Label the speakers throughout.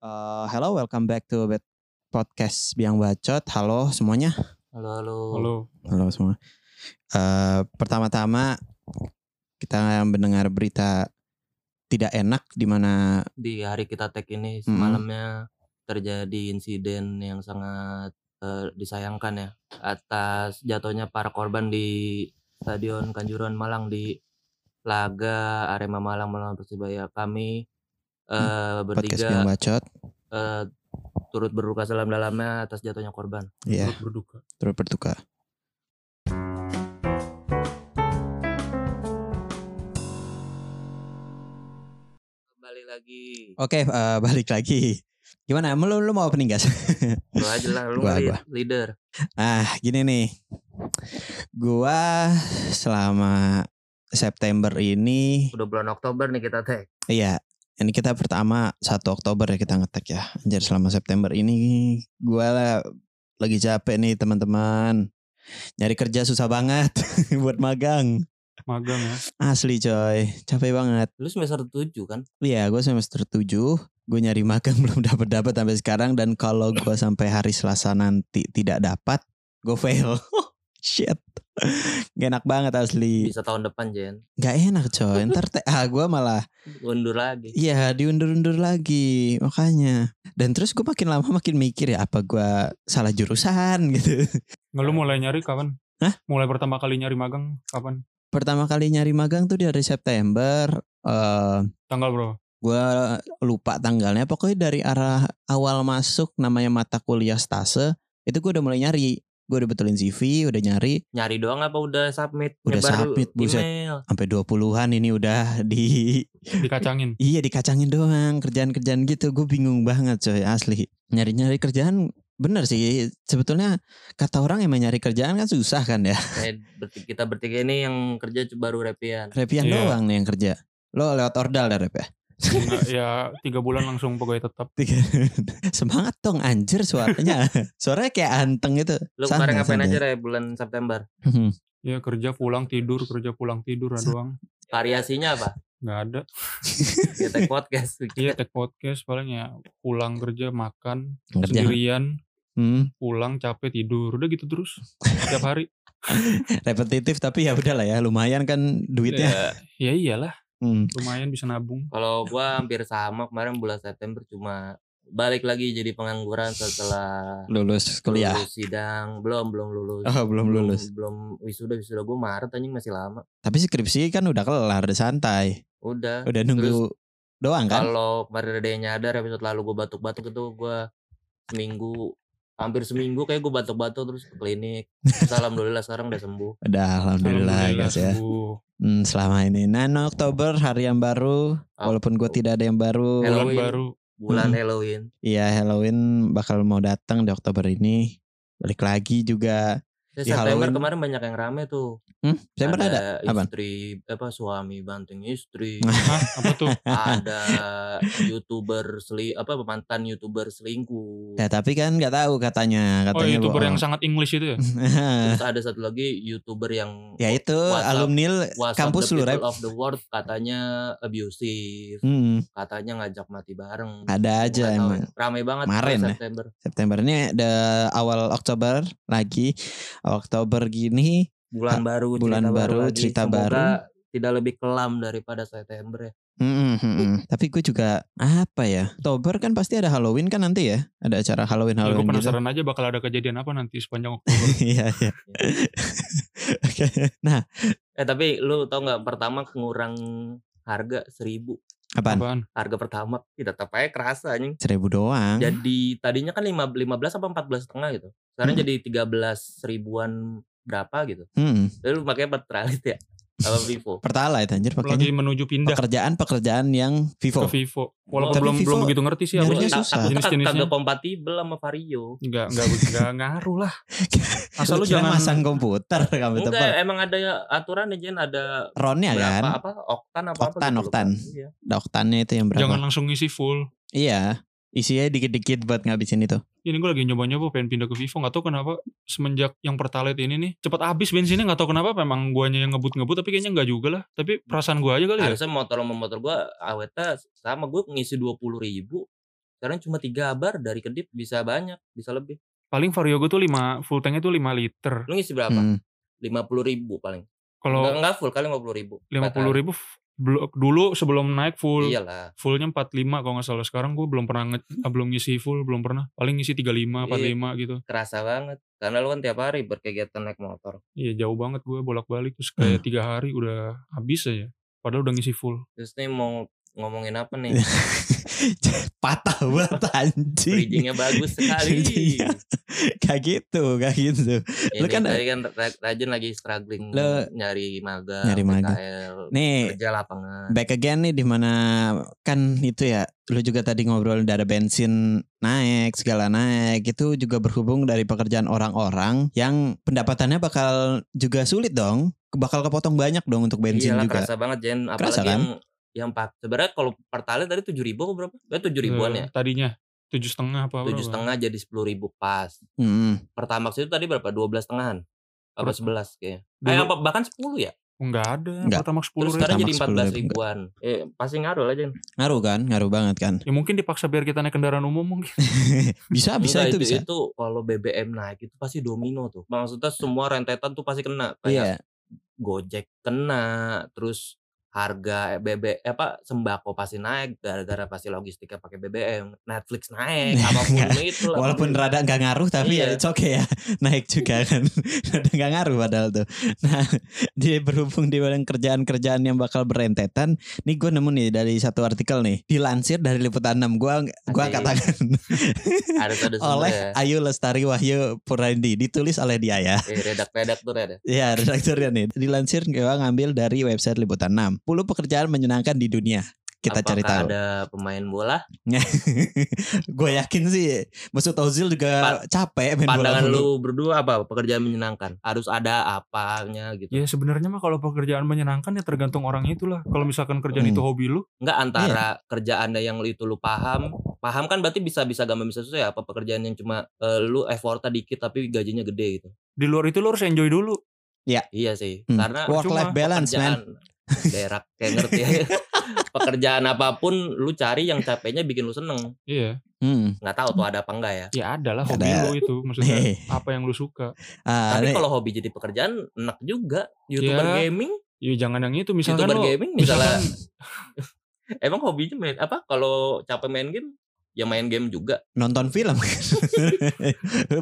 Speaker 1: Uh, hello, welcome back to Bad Podcast Biang Bacot. Halo semuanya.
Speaker 2: Halo, halo.
Speaker 3: Halo.
Speaker 1: Halo semua. Uh, Pertama-tama kita mendengar berita tidak enak di mana
Speaker 2: Di hari kita tag ini
Speaker 1: Mm-mm.
Speaker 2: semalamnya terjadi insiden yang sangat eh, disayangkan ya atas jatuhnya para korban di Stadion Kanjuruhan Malang di laga Arema Malang melawan Persibaya. Kami eh,
Speaker 1: Hmm, podcast Biang
Speaker 2: bertiga
Speaker 1: Bacot.
Speaker 2: eh, turut berduka sedalam-dalamnya atas jatuhnya korban.
Speaker 1: Ya,
Speaker 3: Turut berduka.
Speaker 1: turut berduka.
Speaker 2: Kembali lagi.
Speaker 1: Oke, uh, balik lagi. Gimana? Lu, lu mau opening guys?
Speaker 2: Gua aja lah lu
Speaker 1: Gua-
Speaker 2: lead-
Speaker 1: gua.
Speaker 2: leader.
Speaker 1: Ah, gini nih. Gua selama September ini
Speaker 2: Udah bulan Oktober nih kita tag.
Speaker 1: Iya, ini kita pertama 1 Oktober ya kita ngetek ya. Anjir selama September ini gua la- lagi capek nih teman-teman. Nyari kerja susah banget buat magang.
Speaker 3: Magang ya.
Speaker 1: Asli coy, capek banget.
Speaker 2: Lu semester 7 kan?
Speaker 1: Iya, gue semester 7, gue nyari magang belum dapat-dapat sampai sekarang dan kalau gua sampai hari Selasa nanti tidak dapat, gue fail. Shit. Gak enak banget asli.
Speaker 2: Bisa tahun depan Jen.
Speaker 1: Gak enak coy. Ntar TA gue malah
Speaker 2: Undur lagi.
Speaker 1: Iya diundur-undur lagi makanya. Dan terus gue makin lama makin mikir ya apa gua salah jurusan gitu.
Speaker 3: Nggak lu mulai nyari kapan?
Speaker 1: Hah?
Speaker 3: Mulai pertama kali nyari magang kapan?
Speaker 1: Pertama kali nyari magang tuh dari September. eh
Speaker 3: Tanggal bro.
Speaker 1: gue lupa tanggalnya. Pokoknya dari arah awal masuk namanya mata kuliah stase itu gue udah mulai nyari. Gue udah betulin CV, udah nyari
Speaker 2: nyari doang apa udah submit
Speaker 1: Udah
Speaker 2: Nyebar
Speaker 1: submit, buset.
Speaker 2: email
Speaker 1: sampai 20-an ini udah di
Speaker 3: Dikacangin.
Speaker 1: Iya dikacangin doang kerjaan-kerjaan gitu gue bingung banget coy asli nyari-nyari kerjaan bener sih sebetulnya kata orang emang nyari kerjaan kan susah kan ya
Speaker 2: Eh, berti- kita bertiga ini yang kerja c- baru repian
Speaker 1: Repian
Speaker 3: Iya.
Speaker 1: doang nih yang kerja lo lewat ordal dah Rep ya
Speaker 3: Nggak, ya tiga bulan langsung pegawai tetap.
Speaker 1: Tiga. semangat dong anjir suaranya suaranya kayak anteng gitu Hmm,
Speaker 2: lu kemarin ngapain aja re bulan September
Speaker 3: Ya kerja pulang tidur kerja pulang tidur lah doang.
Speaker 2: variasinya apa
Speaker 3: Nggak ada.
Speaker 2: kita take podcast
Speaker 3: Iya take podcast paling ya pulang kerja makan
Speaker 1: kerja
Speaker 3: sendirian
Speaker 1: hmm,
Speaker 3: pulang capek tidur udah gitu terus tiap hari.
Speaker 1: repetitif tapi ya udahlah ya lumayan kan duitnya
Speaker 3: Ya iyalah
Speaker 1: Hmm.
Speaker 3: lumayan bisa nabung.
Speaker 2: kalau gua hampir sama kemarin bulan September cuma balik lagi jadi pengangguran setelah
Speaker 1: lulus kuliah
Speaker 2: lulus sidang belum belum lulus
Speaker 1: oh belum lulus
Speaker 2: belum wisuda wisuda gua Maret anjing masih lama
Speaker 1: tapi skripsi kan udah kelar udah santai
Speaker 2: udah
Speaker 1: udah nunggu doang kan
Speaker 2: Kalau kemarin ada yang nyadar episode lalu gue batuk-batuk itu gue seminggu hampir seminggu kayak gue batuk-batuk terus ke klinik. Terus alhamdulillah sekarang udah sembuh.
Speaker 1: Udah alhamdulillah, guys ya.
Speaker 3: sembuh.
Speaker 1: Hmm, selama ini. Nah, no Oktober hari yang baru, walaupun gue tidak ada yang baru.
Speaker 2: Hello. Ah.
Speaker 3: Bulan
Speaker 2: Halloween.
Speaker 3: baru.
Speaker 2: Bulan
Speaker 1: Hmm.
Speaker 2: Halloween.
Speaker 1: Iya, Halloween bakal mau datang di Oktober ini. Balik lagi juga.
Speaker 2: Terus
Speaker 1: Di
Speaker 2: September
Speaker 1: Halloween.
Speaker 2: kemarin banyak yang rame tuh.
Speaker 1: Hmm, September ada. Apaan?
Speaker 2: istri apa suami banting istri.
Speaker 3: Hah apa tuh?
Speaker 2: ada YouTuber seli apa mantan YouTuber selingkuh.
Speaker 1: Ya, tapi kan nggak tahu katanya,
Speaker 3: Oh
Speaker 1: katanya
Speaker 3: youtuber yang
Speaker 1: bohong.
Speaker 3: sangat English itu ya?
Speaker 2: Terus ada satu lagi YouTuber yang
Speaker 1: ya itu
Speaker 2: WhatsApp-
Speaker 1: alumni
Speaker 2: WhatsApp
Speaker 1: kampus
Speaker 2: the
Speaker 1: lu,
Speaker 2: people
Speaker 1: Rep.
Speaker 2: of the world katanya abusive,
Speaker 1: Hmm,
Speaker 2: katanya ngajak mati bareng.
Speaker 1: ada aja
Speaker 2: Nggak tahu
Speaker 1: emang.
Speaker 2: ya. Ramai banget
Speaker 1: Kemarin
Speaker 2: bulan
Speaker 1: ya.
Speaker 2: September.
Speaker 1: September ini ada awal Oktober lagi. Oktober gini
Speaker 2: Bulan baru,
Speaker 1: Ah, bulan baru,
Speaker 2: lagi.
Speaker 1: cerita
Speaker 2: Semoga
Speaker 1: baru.
Speaker 2: tidak lebih kelam daripada September ya.
Speaker 1: Mm, mm, mm. Tapi gue juga apa ya? Oktober kan pasti ada Halloween kan nanti ya? Ada acara Halloween
Speaker 3: Ya, gue
Speaker 1: Halloween gitu.
Speaker 3: penasaran aja bakal ada kejadian apa nanti sepanjang Oktober.
Speaker 1: Iya iya. Oke. Nah,
Speaker 2: Eh tapi lu tau nggak pertama ngurang harga seribu
Speaker 1: apaan?
Speaker 3: Apaan?
Speaker 2: harga pertama tidak tetap aja kerasa anjing.
Speaker 1: Seribu doang.
Speaker 3: Ya.
Speaker 2: Jadi tadinya kan lima- 15 apa 14 setengah gitu. Sekarang
Speaker 1: Hmm.
Speaker 2: jadi 13 ribuan berapa gitu.
Speaker 1: Hmm.
Speaker 2: Lalu makanya Petralit ya apa Vivo.
Speaker 1: Pertalite anjir
Speaker 3: Lagi
Speaker 1: pakainya.
Speaker 3: menuju pindah
Speaker 1: Pekerjaan-pekerjaan yang
Speaker 3: ke
Speaker 1: Vivo.
Speaker 3: Vivo. Walaupun
Speaker 1: Tapi
Speaker 3: belum belum
Speaker 1: Vivo
Speaker 3: begitu ngerti sih apa
Speaker 1: nyarinya
Speaker 3: sih.
Speaker 1: susah.
Speaker 2: Tapi kan
Speaker 3: Jenis-jenisnya.
Speaker 2: kagak kompatibel sama Vario.
Speaker 3: Enggak, enggak, enggak ngaruh lah.
Speaker 1: Asal
Speaker 3: Asal lu jangan
Speaker 1: masang komputer kamu tebal.
Speaker 2: Enggak, emang ada aturan aja ada
Speaker 1: Ronnya
Speaker 2: berapa
Speaker 1: kan,
Speaker 2: apa oktan apa apa
Speaker 1: Oktan,
Speaker 2: gitu lupa.
Speaker 1: oktan.
Speaker 2: Iya.
Speaker 1: Ada oktannya itu yang berapa?
Speaker 3: jangan langsung ngisi full.
Speaker 1: Iya, isinya dikit-dikit buat ngabisin itu.
Speaker 3: Ini gue lagi nyoba-nyoba pengen pindah ke Vivo Gak tau kenapa semenjak yang pertalite ini nih Cepet habis bensinnya gak tau kenapa Memang guanya yang ngebut-ngebut Tapi kayaknya gak juga lah
Speaker 1: Iya.
Speaker 3: Tapi perasaan gua aja kali ya
Speaker 2: harusnya motor sama motor gua awetnya sama gue ngisi dua puluh ribu Sekarang cuma tiga abar dari kedip bisa banyak, bisa lebih.
Speaker 3: Paling Vario gue tuh 5 full tanknya tuh 5 liter.
Speaker 2: Lu ngisi berapa?
Speaker 1: Hmm.
Speaker 2: Lima puluh ribu paling. Enggak,
Speaker 3: Kalau
Speaker 2: enggak full kali lima puluh ribu.
Speaker 3: 50 ribu dulu sebelum naik
Speaker 2: Iya.
Speaker 3: full
Speaker 2: Iyalah.
Speaker 3: fullnya 45 kalau nggak salah sekarang gue belum pernah nge- ah, belum ngisi full belum pernah paling ngisi 35 45 gitu
Speaker 2: Kerasa banget. Karena lu kan tiap hari berkegiatan naik motor.
Speaker 3: iya jauh banget gue bolak-balik terus kayak tiga hari udah habis aja padahal udah ngisi full
Speaker 2: Terus nih mau ngomongin apa nih?
Speaker 1: Iya. Patah banget anjing.
Speaker 2: Bridgingnya bagus sekali.
Speaker 1: Bridgingnya. Kayak gitu, kayak gitu.
Speaker 2: Ini
Speaker 1: Iya. Lu kan-
Speaker 2: tadi kan Ra- Rajin lagi struggling
Speaker 1: Lu-
Speaker 2: nyari maga,
Speaker 1: Nyari magang. Eh.
Speaker 2: PKL,
Speaker 1: Nih,
Speaker 2: kerja lapangan.
Speaker 1: back again nih dimana kan itu ya lu juga tadi ngobrol dari bensin naik segala naik itu juga berhubung dari pekerjaan orang-orang yang pendapatannya bakal juga sulit dong bakal kepotong banyak dong untuk bensin
Speaker 2: Iyalah
Speaker 1: juga
Speaker 2: kerasa banget Jen, apalagi
Speaker 1: Kerasa kan?
Speaker 2: yang yang pak sebenarnya kalau pertalite tadi tujuh ribu berapa? Eh tujuh ribuan ya,
Speaker 3: Eh, tadinya tujuh setengah apa
Speaker 2: tujuh
Speaker 3: berapa?
Speaker 2: setengah jadi sepuluh ribu pas.
Speaker 1: Mm-mm.
Speaker 2: Pertamax itu tadi berapa? Dua belas setengahan? Apa
Speaker 3: Per-
Speaker 2: sebelas kayaknya? Eh,
Speaker 3: Dulu-
Speaker 2: apa, bahkan sepuluh ya?
Speaker 3: Enggak ada,
Speaker 1: Enggak.
Speaker 3: pertama 10
Speaker 2: Terus
Speaker 3: ribu.
Speaker 2: sekarang jadi
Speaker 1: Pertamax
Speaker 2: empat belas
Speaker 1: 10.000.
Speaker 2: ribuan. Eh pasti ngaruh lah Jen.
Speaker 1: ngaruh kan ngaruh banget kan
Speaker 3: Ya mungkin dipaksa biar kita naik kendaraan umum mungkin.
Speaker 1: bisa Ah, bisa itu
Speaker 2: Enggak,
Speaker 1: bisa
Speaker 2: Itu ya. kalau BBM naik itu pasti domino tuh. Maksudnya semua rentetan tuh pasti kena. Kayak
Speaker 1: iya
Speaker 2: Gojek kena, terus harga BB eh, apa sembako pasti naik gara-gara pasti logistiknya pakai BBM, Netflix naik, apapun itu
Speaker 1: Iya,
Speaker 2: lah.
Speaker 1: walaupun rada nggak ngaruh tapi ya
Speaker 2: Iya.
Speaker 1: it's okay ya naik juga kan rada nggak ngaruh padahal tuh nah dia berhubung di bidang kerjaan-kerjaan yang bakal berentetan nih gue nemu nih dari satu artikel nih dilansir dari liputan 6 gue gua
Speaker 2: Asik.
Speaker 1: katakan
Speaker 2: ada ada ya,
Speaker 1: oleh
Speaker 2: oleh
Speaker 1: Ayu Lestari Wahyu Purandi ditulis oleh dia ya
Speaker 2: eh, redak-redak tuh ada.
Speaker 1: ya redakturnya nih dilansir gue ngambil dari website liputan 6 10 pekerjaan menyenangkan di dunia kita
Speaker 2: Apakah
Speaker 1: cari tahu.
Speaker 2: ada pemain bola?
Speaker 1: gue yakin sih Mesut Ozil juga capek main bola
Speaker 2: Pandangan
Speaker 1: mulu.
Speaker 2: lu berdua apa? Pekerjaan menyenangkan. Harus ada apanya gitu.
Speaker 1: Iya.
Speaker 3: ya sebenarnya mah kalau pekerjaan menyenangkan ya tergantung orang itulah. Kalau misalkan kerjaan
Speaker 1: Hmm.
Speaker 3: itu hobi lu,
Speaker 2: Enggak antara
Speaker 1: Iya.
Speaker 2: kerjaan yang lu itu lu paham, paham kan berarti bisa-bisa gampang bisa susah ya apa pekerjaan yang cuma eh, lu effortnya dikit tapi gajinya gede gitu.
Speaker 3: di luar itu lu harus enjoy dulu.
Speaker 2: Iya sih,
Speaker 1: Hmm.
Speaker 2: karena
Speaker 1: Work
Speaker 3: cuma
Speaker 1: life balance man
Speaker 2: pekerjaan berak kayak ngerti aja. pekerjaan apapun lu cari yang capeknya bikin lu seneng
Speaker 3: Iya,
Speaker 1: Hmm.
Speaker 2: nggak tahu tuh ada apa enggak ya
Speaker 3: ya ada lah hobi
Speaker 1: Ada.
Speaker 3: lu itu maksudnya.
Speaker 1: Nih.
Speaker 3: apa yang lu suka.
Speaker 1: Ah,
Speaker 2: tapi
Speaker 1: nih.
Speaker 2: kalau hobi jadi pekerjaan enak juga youtuber
Speaker 3: Ya,
Speaker 2: gaming
Speaker 3: Ya jangan yang itu misalkan
Speaker 2: youtuber
Speaker 3: lu
Speaker 2: gaming misalnya emang hobinya main apa kalau capek main game ya main game juga
Speaker 1: nonton film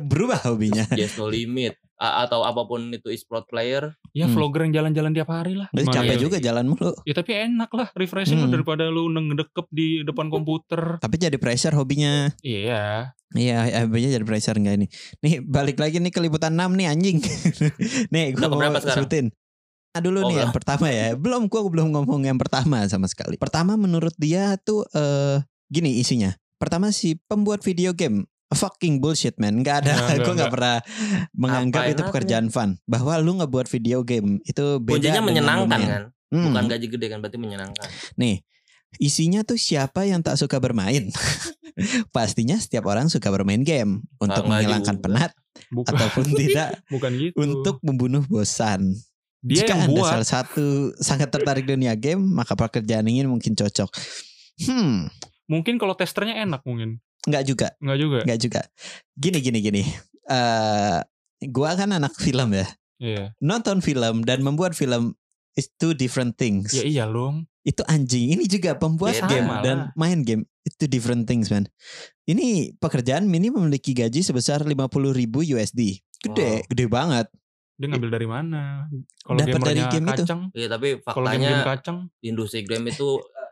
Speaker 1: berubah hobinya
Speaker 2: just no limit A- atau apapun itu e-sport player
Speaker 3: ya
Speaker 1: Hmm.
Speaker 3: vlogger yang jalan-jalan tiap hari lah.
Speaker 1: Berarti
Speaker 3: Gimana
Speaker 1: capek
Speaker 2: iya,
Speaker 3: ya?
Speaker 1: juga jalan mulu
Speaker 3: Ya tapi enak lah refreshing
Speaker 1: Hmm.
Speaker 3: lu daripada lu ngedekep di depan komputer.
Speaker 1: tapi jadi pressure hobinya
Speaker 3: Iya.
Speaker 1: iya hobinya jadi pressure enggak ini nih balik lagi nih ke liputan 6 nih anjing nih gue
Speaker 2: Udah
Speaker 1: mau
Speaker 2: keberapa sekarang?
Speaker 1: sebutin Ah dulu
Speaker 2: Oh,
Speaker 1: nih yang pertama ya belum gua belum ngomong yang pertama sama sekali pertama menurut dia tuh eh gini isinya pertama si pembuat video game Fucking bullshit man Gak ada
Speaker 3: Nggak,
Speaker 1: Gue
Speaker 3: nggak,
Speaker 1: gak pernah Menganggap
Speaker 2: Apain
Speaker 1: itu
Speaker 2: aku?
Speaker 1: pekerjaan fun Bahwa lu ngebuat video game Itu beda
Speaker 2: kuncinya
Speaker 1: dengan
Speaker 2: menyenangkan
Speaker 1: bermain.
Speaker 2: kan
Speaker 1: Hmm.
Speaker 2: bukan gaji gede kan berarti menyenangkan
Speaker 1: Nih, isinya tuh siapa yang tak suka bermain? Pastinya setiap orang suka bermain game untuk
Speaker 2: Nggak
Speaker 1: menghilangkan
Speaker 2: juga.
Speaker 1: penat
Speaker 3: Bukan
Speaker 1: ataupun tidak
Speaker 3: bukan gitu.
Speaker 1: untuk membunuh bosan.
Speaker 3: dia
Speaker 1: Jika
Speaker 3: yang
Speaker 1: Anda
Speaker 3: buat.
Speaker 1: salah satu sangat tertarik dunia game, maka pekerjaan ini mungkin cocok. Hmm,
Speaker 3: Mungkin kalau testernya enak mungkin.
Speaker 1: nggak juga,
Speaker 3: Enggak juga.
Speaker 1: nggak juga. Gini gini gini. Eh, gua kan anak film ya.
Speaker 3: Iya.
Speaker 1: Nonton film dan membuat film is two different things.
Speaker 3: Ya iya dong.
Speaker 1: itu anjing ini juga pembuat
Speaker 2: Beda
Speaker 1: game
Speaker 3: malah.
Speaker 1: dan main game itu different things man ini pekerjaan mini memiliki gaji sebesar 50.000 ribu USD gede
Speaker 2: Wow.
Speaker 1: gede banget
Speaker 3: Dia ngambil dari mana? Kalau
Speaker 1: Dapat dari
Speaker 3: gamernya
Speaker 1: game itu.
Speaker 3: kacang,
Speaker 2: iya tapi
Speaker 3: kalau game
Speaker 2: faktanya
Speaker 3: game kan. kacang,
Speaker 2: industri game itu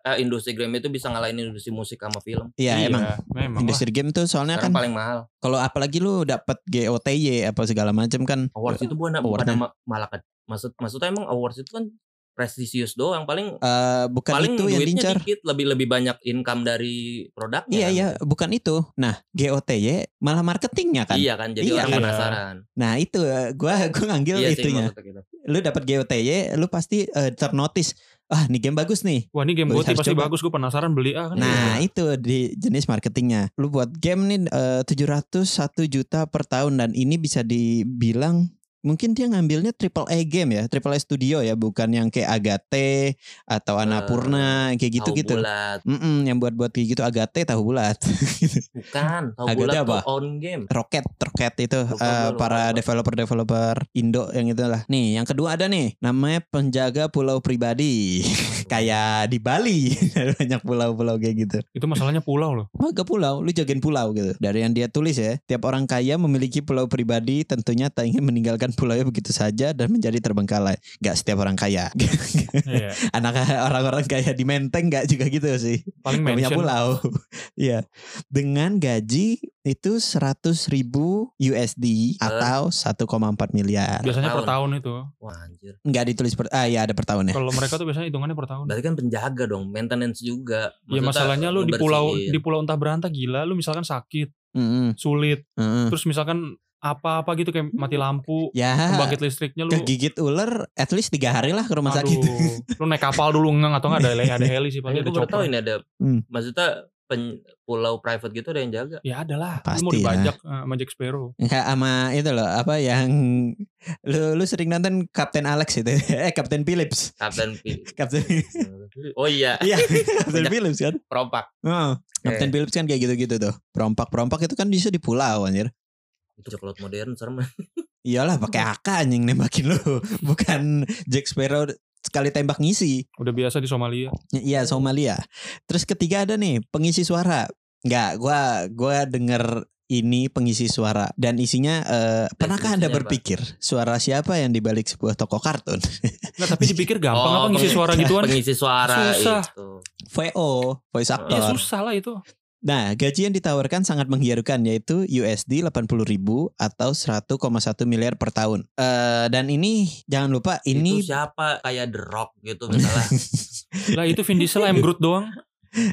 Speaker 2: eh, industri game itu bisa ngalahin industri musik sama film.
Speaker 1: ya
Speaker 3: iya,
Speaker 1: emang
Speaker 3: memang lah.
Speaker 1: industri game tuh soalnya
Speaker 2: Sekarang
Speaker 1: kan
Speaker 2: paling mahal.
Speaker 1: kalau apalagi lu dapat GOTY apa segala macam kan
Speaker 2: Awards gitu. itu bukan bukan
Speaker 1: awardnya.
Speaker 2: ma- malah ke- maksud maksudnya emang awards itu kan prestisius doang paling
Speaker 1: eh, bukan
Speaker 2: paling
Speaker 1: itu yang diincar
Speaker 2: duitnya dikit lebih lebih banyak income dari produknya.
Speaker 1: iya
Speaker 2: kan.
Speaker 1: iya bukan itu nah GOTY malah marketingnya kan
Speaker 2: Iya kan jadi
Speaker 1: Iya
Speaker 2: orang
Speaker 3: kan.
Speaker 2: penasaran.
Speaker 1: nah itu eh, gua gua ngambil
Speaker 2: iya sih
Speaker 1: itunya
Speaker 2: maksudnya gitu.
Speaker 1: lu dapat GOTY lu pasti eh, ternotis ah ini game bagus nih
Speaker 3: Wah ini game
Speaker 1: Gua
Speaker 3: Goti
Speaker 1: harus
Speaker 3: pasti
Speaker 1: coba.
Speaker 3: bagus, gue penasaran beli
Speaker 2: Oh,
Speaker 3: ah kan.
Speaker 1: Nah
Speaker 2: iya.
Speaker 1: itu di jenis marketingnya. Lu buat game nih eh, 701 juta per tahun dan ini bisa dibilang mungkin dia ngambilnya triple A game ya, triple A studio ya, bukan yang kayak Agate atau Anapurna kayak gitu-gitu.
Speaker 2: Eh, Tahu bulat.
Speaker 1: Mm-mm, yang buat-buat kayak gitu Agate tahu bulat. Gitu.
Speaker 2: Bukan, tahu
Speaker 1: Agak
Speaker 2: bulat
Speaker 1: ada
Speaker 2: tuh
Speaker 1: apa?
Speaker 2: on game.
Speaker 1: Roket, roket itu eh,
Speaker 2: Lupa gua, lupa
Speaker 1: para
Speaker 2: gua.
Speaker 1: developer-developer Indo yang itulah. Nih, yang kedua ada nih, namanya penjaga pulau pribadi. kayak di Bali banyak pulau-pulau kayak gitu.
Speaker 3: Itu masalahnya pulau loh.
Speaker 1: Maka pulau, lu jagain pulau gitu. Dari yang dia tulis ya, tiap orang kaya memiliki pulau pribadi, tentunya tak ingin meninggalkan pulaunya begitu saja dan menjadi terbengkalai. Gak setiap orang kaya.
Speaker 3: Iya.
Speaker 1: Anak orang-orang kaya di Menteng gak juga gitu sih.
Speaker 3: Paling
Speaker 1: Gak punya
Speaker 3: mention.
Speaker 1: pulau. Iya. Dengan gaji itu 100 ribu USD atau 1,4 miliar.
Speaker 3: Biasanya per
Speaker 2: Tahun.
Speaker 3: tahun itu.
Speaker 1: Nah.
Speaker 2: Wah anjir.
Speaker 1: Nggak ditulis per, ah ya ada per tahun ya.
Speaker 3: Kalau mereka tuh biasanya hitungannya per tahun.
Speaker 2: Berarti kan penjaga dong, maintenance juga.
Speaker 3: Ya
Speaker 2: Maksudnya
Speaker 3: masalahnya lu di pulau
Speaker 2: ngebersihin.
Speaker 3: di pulau entah berantah gila, lu misalkan sakit,
Speaker 1: Mm-mm,
Speaker 3: sulit,
Speaker 1: mm-mm.
Speaker 3: terus misalkan apa-apa gitu kayak mati lampu,
Speaker 1: Ya
Speaker 3: pembangkit listriknya lu
Speaker 1: kegigit ular at least tiga hari lah ke rumah
Speaker 3: Aduh,
Speaker 1: sakit.
Speaker 3: lu naik kapal dulu ngeng atau enggak ada heli- ada heli sih
Speaker 2: Tapi
Speaker 3: paling ada
Speaker 2: gue baru tahu
Speaker 3: chopper.
Speaker 2: ini ada
Speaker 1: Hmm.
Speaker 2: maksudnya pen- pulau private gitu ada yang jaga.
Speaker 3: Ya ada lah. Lu mau
Speaker 1: Pasti ya.
Speaker 3: dibajak eh, sama Jack Sparrow.
Speaker 1: Kayak sama itu loh apa yang lu lu sering nonton Kapten Alex itu eh Kapten Phillips
Speaker 2: Kapten P.
Speaker 1: Kapten
Speaker 2: oh iya,
Speaker 1: iya Kapten Phillips kan
Speaker 2: propak.
Speaker 1: Heeh. Kapten Phillips kan kayak gitu-gitu tuh perompak perompak itu kan bisa di pulau anjir
Speaker 2: Itu coklat modern serem.
Speaker 1: iyalah pakai AK anjing nembakin lu bukan Jack Sparrow sekali tembak ngisi
Speaker 3: Udah biasa di Somalia.
Speaker 1: Y- iya Somalia terus ketiga ada nih pengisi suara Enggak, gua gua denger ini pengisi suara dan isinya eh, pernahkah anda
Speaker 2: isinya apa?
Speaker 1: berpikir suara siapa yang dibalik sebuah toko kartun
Speaker 3: Enggak, tapi dipikir gampang
Speaker 2: Oh,
Speaker 3: apa ngisi
Speaker 2: peng-
Speaker 3: suara gituan?
Speaker 2: Pengisi suara
Speaker 3: Susah.
Speaker 2: itu.
Speaker 1: VO, voice actor.
Speaker 3: Ya susah lah itu.
Speaker 1: Nah, gaji yang ditawarkan sangat menggiurkan yaitu USD 80.000 atau 1,1 miliar per tahun. Eh dan ini jangan lupa ini
Speaker 2: Itu siapa kayak The Rock gitu misalnya.
Speaker 3: Lah itu Vin Diesel ayam Groot doang.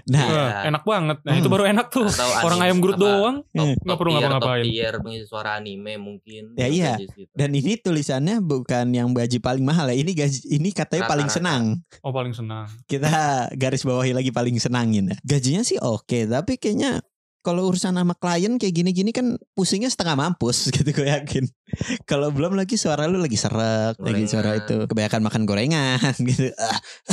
Speaker 1: nah,
Speaker 3: Wah, enak banget. Nah, itu baru enak tuh.
Speaker 2: Atau
Speaker 3: Orang
Speaker 2: anime
Speaker 3: ayam Groot
Speaker 2: apa,
Speaker 3: doang.
Speaker 2: Top,
Speaker 1: eh,
Speaker 3: Nggak perlu
Speaker 2: tier,
Speaker 3: ngapa-ngapain.
Speaker 2: Top tier pengisi suara anime mungkin.
Speaker 1: Ya, iya.
Speaker 2: Gitu.
Speaker 1: dan ini tulisannya bukan yang gaji paling mahal ya. Ini gaji ini katanya paling
Speaker 2: Rata-rata.
Speaker 1: senang.
Speaker 3: Oh, paling senang.
Speaker 1: Kita garis bawahi lagi paling senangin ya. Gajinya sih oke, tapi kayaknya kalau urusan sama klien kayak gini-gini kan pusingnya setengah mampus gitu gue yakin. Kalau belum lagi suara lu lagi serak, lagi
Speaker 2: Gorengan.
Speaker 1: suara itu kebanyakan makan gorengan gitu.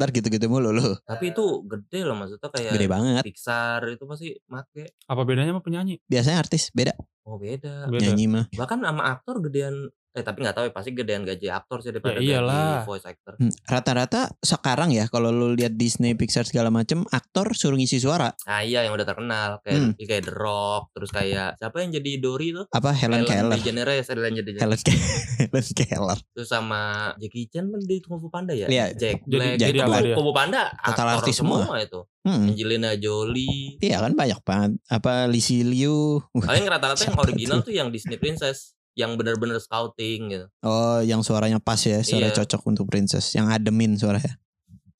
Speaker 1: Ntar gitu-gitu mulu lu.
Speaker 2: Tapi itu gede loh maksudnya kayak
Speaker 1: Gede banget.
Speaker 2: Pixar itu pasti make.
Speaker 3: Apa bedanya sama penyanyi?
Speaker 1: Biasanya artis beda
Speaker 2: Oh beda.
Speaker 3: Beda.
Speaker 1: nyanyi mah.
Speaker 2: Bahkan sama aktor gedean eh tapi nggak tahu ya pasti gedean gaji aktor sih daripada
Speaker 3: Ya iyalah.
Speaker 2: gaji voice actor.
Speaker 1: Hmm, Rata-rata sekarang ya kalau lu lihat Disney, Pixar segala macem aktor suruh ngisi suara.
Speaker 2: Ah iya yang udah terkenal
Speaker 1: Hmm.
Speaker 2: kayak kayak The Rock terus kayak siapa yang jadi Dory itu?
Speaker 1: Apa Helen Keller?
Speaker 2: DeGeneres, Ellen DeGeneres.
Speaker 1: Helen Keller. Helen Keller.
Speaker 2: Terus sama Jackie Chan kan di Kung Fu Panda ya?
Speaker 1: Iya,
Speaker 2: Jack Black.
Speaker 3: jadi-
Speaker 1: jadi
Speaker 2: Itu
Speaker 1: apa
Speaker 3: dia?
Speaker 2: Kung Fu Panda
Speaker 1: Total
Speaker 2: aktor
Speaker 1: artis semua.
Speaker 2: itu.
Speaker 1: Hmm.
Speaker 2: Angelina Jolie.
Speaker 1: Iya kan banyak banget. Apa Lisi Liu? Wah,
Speaker 2: Paling rata-rata yang
Speaker 1: Siapa
Speaker 2: original tuh yang Disney Princess yang bener-bener scouting gitu.
Speaker 1: Oh, yang suaranya pas ya, suara
Speaker 2: Iya.
Speaker 1: cocok untuk princess, yang ademin suaranya.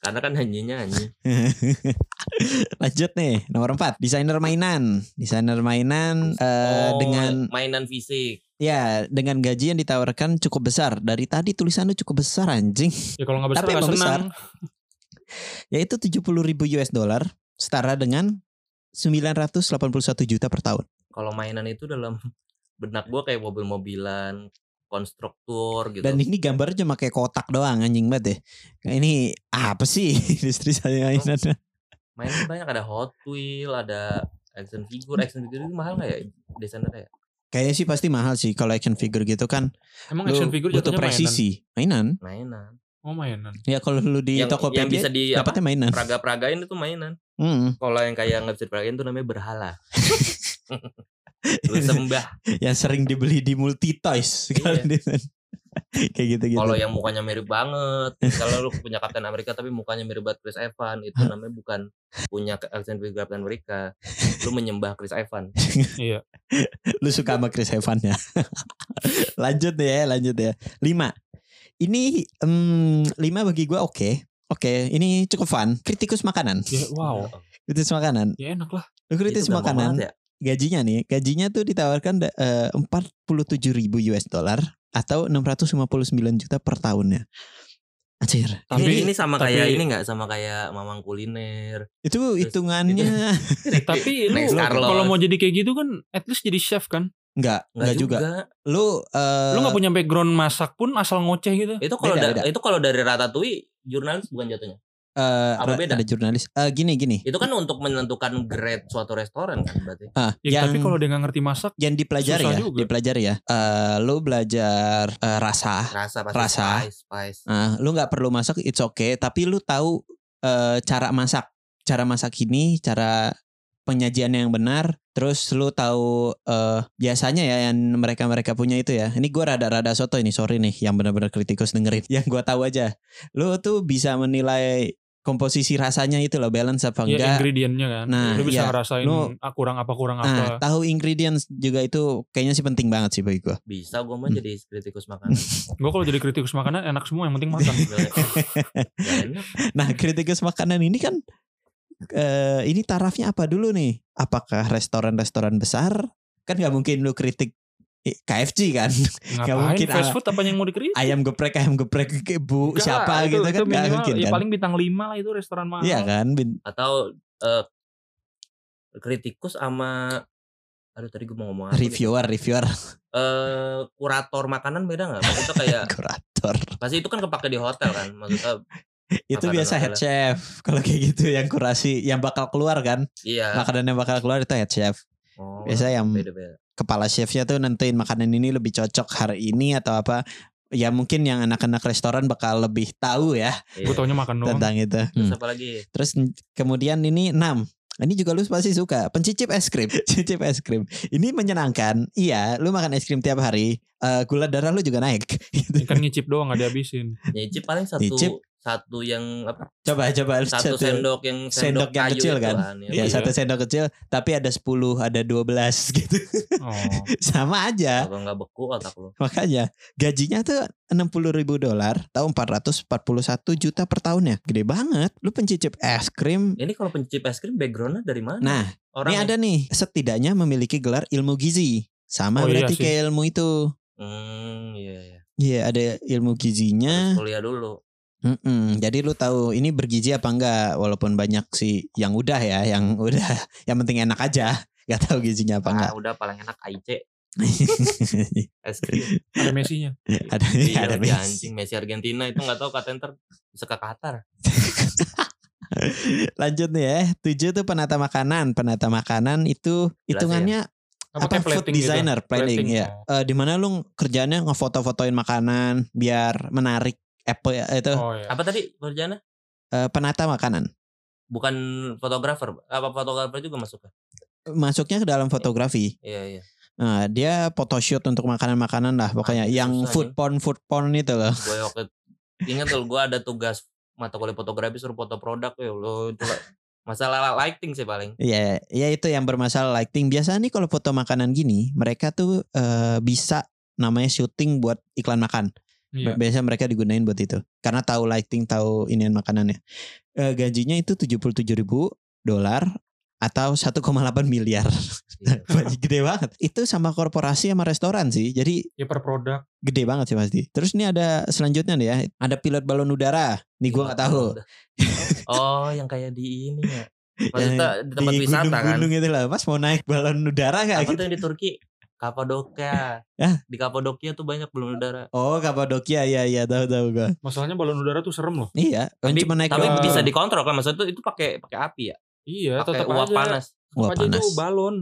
Speaker 2: Karena kan hanyinya anjing.
Speaker 1: Lanjut nih, nomor 4, desainer mainan. Desainer mainan eh,
Speaker 2: Oh,
Speaker 1: dengan
Speaker 2: mainan fisik.
Speaker 1: ya dengan gaji yang ditawarkan cukup besar. Dari tadi tulisannya cukup besar anjing.
Speaker 3: Ya kalau nggak besar
Speaker 1: Tapi
Speaker 3: nggak
Speaker 1: emang
Speaker 3: senang.
Speaker 1: Yaitu 70 ribu US dollar setara dengan 981 juta per tahun.
Speaker 2: Kalau mainan itu dalam benak gua kayak mobil-mobilan, konstruktur gitu.
Speaker 1: Dan ini gambarnya cuma kayak kotak doang anjing banget ya. Ini apa sih industri saya mainan?
Speaker 2: mainan banyak ada Hot Wheel, ada action figure, action figure itu mahal nggak ya desainernya? ya?
Speaker 1: Kayaknya sih pasti mahal sih kalau action figure gitu kan.
Speaker 3: Emang
Speaker 1: Lu
Speaker 3: action figure
Speaker 1: butuh
Speaker 3: jatuhnya mainan.
Speaker 1: presisi. Mainan.
Speaker 2: Mainan.
Speaker 3: Oh, mainan.
Speaker 1: Ya kalau lu di
Speaker 2: yang,
Speaker 1: Tokopedia
Speaker 2: yang bisa di apa?
Speaker 1: dapatnya mainan.
Speaker 2: Praga-pragain itu mainan.
Speaker 1: Mm.
Speaker 2: Kalau yang kayak nggak bisa diperagain itu namanya berhala. Lu sembah.
Speaker 1: yang sering dibeli di multi toys
Speaker 2: Iya.
Speaker 1: kayak gitu-gitu.
Speaker 2: Kalau yang mukanya mirip banget, kalau lu punya Captain America tapi mukanya mirip banget Chris Evans, itu namanya bukan punya action figure Captain America. Lu menyembah Chris Evans.
Speaker 3: Iya.
Speaker 1: Lu suka sama Chris Evans ya. lanjut ya, lanjut ya. Lima. Ini em, lima bagi gua oke. Oke, ini cukup fun. Kritikus makanan.
Speaker 3: Ya, wow.
Speaker 1: Kritikus makanan.
Speaker 3: Ya enak lah.
Speaker 1: Lu kritis
Speaker 2: Itu gampang
Speaker 1: makanan.
Speaker 2: banget ya.
Speaker 1: gajinya nih, gajinya tuh ditawarkan da- eh, 47 ribu US dollar atau 659 juta per tahunnya. Anjir.
Speaker 2: Ini,
Speaker 3: Tapi-
Speaker 1: ini-
Speaker 2: ini sama
Speaker 3: tapi-
Speaker 2: kayak ini nggak sama kayak mamang kuliner.
Speaker 1: itu hitungannya
Speaker 3: Tapi lu
Speaker 2: Next Carlos.
Speaker 3: kalau mau jadi kayak gitu kan at least jadi chef kan?
Speaker 1: Enggak, enggak juga. Lu eh,
Speaker 3: Lu nggak punya background masak pun asal ngoceh gitu.
Speaker 2: Itu kalau
Speaker 1: Beda, beda.
Speaker 2: da- itu kalau dari Ratatouille jurnalis bukan jatuhnya.
Speaker 1: eh,
Speaker 2: apa
Speaker 1: ra-
Speaker 2: beda?
Speaker 1: ada jurnalis. Eh, gini gini.
Speaker 2: Itu kan untuk menentukan grade suatu restoran kan berarti.
Speaker 1: Ah,
Speaker 3: Ya,
Speaker 1: yang
Speaker 3: tapi kalau dia nggak ngerti masak,
Speaker 1: yang dipelajari
Speaker 3: Susah
Speaker 1: ya,
Speaker 3: juga.
Speaker 1: dipelajari ya. Eh, lu belajar eh, rasa.
Speaker 2: Rasa pasti
Speaker 1: Rasa.
Speaker 2: spice, spice.
Speaker 1: Ah, lu nggak perlu masak, it's okay. Tapi lu tahu eh, cara masak, cara masak ini, cara penyajian yang benar. Terus lu tahu eh, biasanya ya yang mereka mereka punya itu ya. Ini gua rada-rada soto ini, sorry nih, yang benar-benar kritikus dengerin. Yang gua tahu aja, lu tuh bisa menilai komposisi rasanya itu loh, balance apa
Speaker 3: ya
Speaker 1: Oh, enggak.
Speaker 3: ingredientnya kan.
Speaker 1: Nah,
Speaker 3: lu bisa
Speaker 1: iya.
Speaker 3: ngerasain
Speaker 1: Lu-
Speaker 3: ah, kurang apa kurang apa.
Speaker 1: Nah, tahu ingredients juga itu kayaknya sih penting banget sih bagi gua.
Speaker 2: Bisa gue mah
Speaker 1: Hmm.
Speaker 2: jadi kritikus makanan.
Speaker 3: Gue kalau jadi kritikus makanan enak semua yang penting makan.
Speaker 2: Ya, enak.
Speaker 1: Nah, kritikus makanan ini kan eh ini tarafnya apa dulu nih? Apakah restoran-restoran besar? Kan nggak mungkin lu kritik i- KFC kan?
Speaker 3: Ngapain
Speaker 1: mungkin,
Speaker 3: fast
Speaker 1: ah.
Speaker 3: food apa yang mau dikritik?
Speaker 1: Ayam geprek, ayam geprek ke Bu
Speaker 3: Nggak,
Speaker 1: siapa
Speaker 3: itu-
Speaker 1: gitu
Speaker 3: itu
Speaker 1: kan nggak
Speaker 3: minimal,
Speaker 1: mungkin
Speaker 3: ya
Speaker 1: kan?
Speaker 3: paling bintang 5 lah itu restoran mahal.
Speaker 1: Iya kan? Bin-
Speaker 2: Atau eh, kritikus sama aduh tadi gue mau ngomong apa? nih?
Speaker 1: Reviewer, reviewer,
Speaker 2: Eh, kurator makanan beda nggak? Maksudnya
Speaker 3: Iya.
Speaker 2: kayak
Speaker 1: kurator.
Speaker 2: pasti itu kan kepake di hotel kan. Maksudnya
Speaker 1: Itu
Speaker 2: Makanan
Speaker 1: biasa head
Speaker 2: makanan.
Speaker 1: chef. Kalau kayak gitu yang kurasi, yang bakal keluar kan?
Speaker 2: iya.
Speaker 1: Makanan yang bakal keluar itu head chef.
Speaker 2: Oh,
Speaker 1: Biasa yang
Speaker 2: beda-beda.
Speaker 1: kepala chefnya tuh nentuin makanan ini lebih cocok hari ini atau apa ya mungkin yang anak-anak restoran bakal lebih tahu ya
Speaker 2: Iya.
Speaker 3: Gue taunya makan doang.
Speaker 1: tentang itu
Speaker 2: Terus
Speaker 1: Hmm.
Speaker 2: apa lagi?
Speaker 1: terus n- kemudian ini 6 ini juga lu pasti suka pencicip es krim cicip es krim ini menyenangkan iya lu makan es krim tiap hari eh, gula darah lu juga naik Gitu.
Speaker 2: kan
Speaker 3: Ikan ngicip doang gak dihabisin.
Speaker 2: Nyicip paling satu
Speaker 1: Nyicip.
Speaker 2: satu yang apa?
Speaker 1: coba coba lu
Speaker 2: Satu sendok yang
Speaker 1: sendok
Speaker 2: sendok,
Speaker 1: yang
Speaker 2: kayu
Speaker 1: kecil
Speaker 2: itu
Speaker 1: kan?
Speaker 2: ya.
Speaker 1: ya satu sendok kecil tapi ada 10 ada 12 gitu
Speaker 3: Oh.
Speaker 1: sama aja
Speaker 2: Iya, Kalau nggak beku otak lu.
Speaker 1: Makanya gajinya tuh 60 ribu dolar tahun 441 juta per tahunnya. Gede banget. Lu pencicip es krim.
Speaker 2: Ini kalau pencicip es krim backgroundnya dari mana?
Speaker 1: Nah,
Speaker 2: Orang ya?
Speaker 1: ini ada nih. Setidaknya memiliki gelar ilmu gizi. Sama
Speaker 3: Oh, iya
Speaker 1: berarti
Speaker 3: sih.
Speaker 1: kayak ilmu itu.
Speaker 2: Hmm, iya iya.
Speaker 1: Iya ada ilmu
Speaker 2: Harus
Speaker 1: gizinya.
Speaker 2: kuliah dulu.
Speaker 1: Mm-mm. Jadi lu tahu ini bergizi apa enggak. Walaupun banyak sih yang udah ya. Yang udah. Yang penting enak aja. Gak tahu gizinya apa enggak.
Speaker 2: Ah, udah paling enak AIC es krim.
Speaker 3: Ada mesinya.
Speaker 1: ada
Speaker 2: Iya,
Speaker 1: ada
Speaker 2: si anjing Messi Argentina itu nggak tahu katanya ntar bisa ke Qatar.
Speaker 1: Lanjut nih ya. Tujuh tuh penata makanan. Penata makanan itu hitungannya apa,
Speaker 3: Apa, ya. kayak
Speaker 1: food
Speaker 3: plating gitu?
Speaker 1: designer planning
Speaker 3: Plating.
Speaker 1: ya. Eh, di mana lu kerjanya ngefoto-fotoin makanan biar menarik apa ya, itu
Speaker 3: Oh iya.
Speaker 2: Apa tadi kerjanya?
Speaker 1: eh, penata makanan.
Speaker 2: Bukan fotografer, apa fotografer juga masuk?
Speaker 1: Masuknya ke dalam fotografi.
Speaker 2: Iya iya.
Speaker 1: Nah, dia photoshoot untuk makanan-makanan lah pokoknya
Speaker 2: Anjing,
Speaker 1: yang
Speaker 2: susah
Speaker 1: food porn food porn itu loh.
Speaker 2: Gue waktu ingat tuh gue ada tugas mata kuliah fotografi suruh foto produk ya lo itu lah. masalah lighting sih paling.
Speaker 1: Ya, ya itu yang bermasalah lighting. Biasa nih kalau foto makanan gini, mereka tuh eh, bisa namanya syuting buat iklan makan.
Speaker 3: Iya.
Speaker 1: Biasanya mereka digunain buat itu. Karena tahu lighting, tahu inian makanannya. Eh, gajinya itu 77.000 dolar atau 1,8 miliar.
Speaker 2: Iya.
Speaker 1: Gaji gede banget. Itu sama korporasi sama restoran sih. Jadi
Speaker 3: Ya per produk.
Speaker 1: gede banget sih pasti. Terus ini ada selanjutnya nih ya. Ada pilot balon udara. Nih
Speaker 2: Iya.
Speaker 1: gua nggak tahu.
Speaker 2: Oh, yang kayak di ini ya. Maksudnya di tempat
Speaker 1: Di
Speaker 2: wisata kan.
Speaker 1: gunung-gunung itu lah. Mas mau naik balon udara nggak?
Speaker 2: Apa
Speaker 1: Gitu?
Speaker 2: tuh yang di Turki? Kapadokia.
Speaker 1: Hah?
Speaker 2: Di Kapadokia tuh banyak belum udara.
Speaker 1: Oh Kapadokia ya ya tahu tahu gua.
Speaker 3: Masalahnya balon udara tuh serem loh.
Speaker 1: Iya. Kan
Speaker 2: Tapi,
Speaker 1: cuma naik
Speaker 2: tapi
Speaker 1: balon.
Speaker 2: bisa dikontrol kan maksudnya tuh itu pakai pakai api ya.
Speaker 3: Iya,
Speaker 2: Pakai
Speaker 3: tetap
Speaker 2: uap
Speaker 3: aja.
Speaker 2: panas.
Speaker 3: Tetap
Speaker 1: Uap
Speaker 3: aja itu
Speaker 1: panas.
Speaker 3: balon.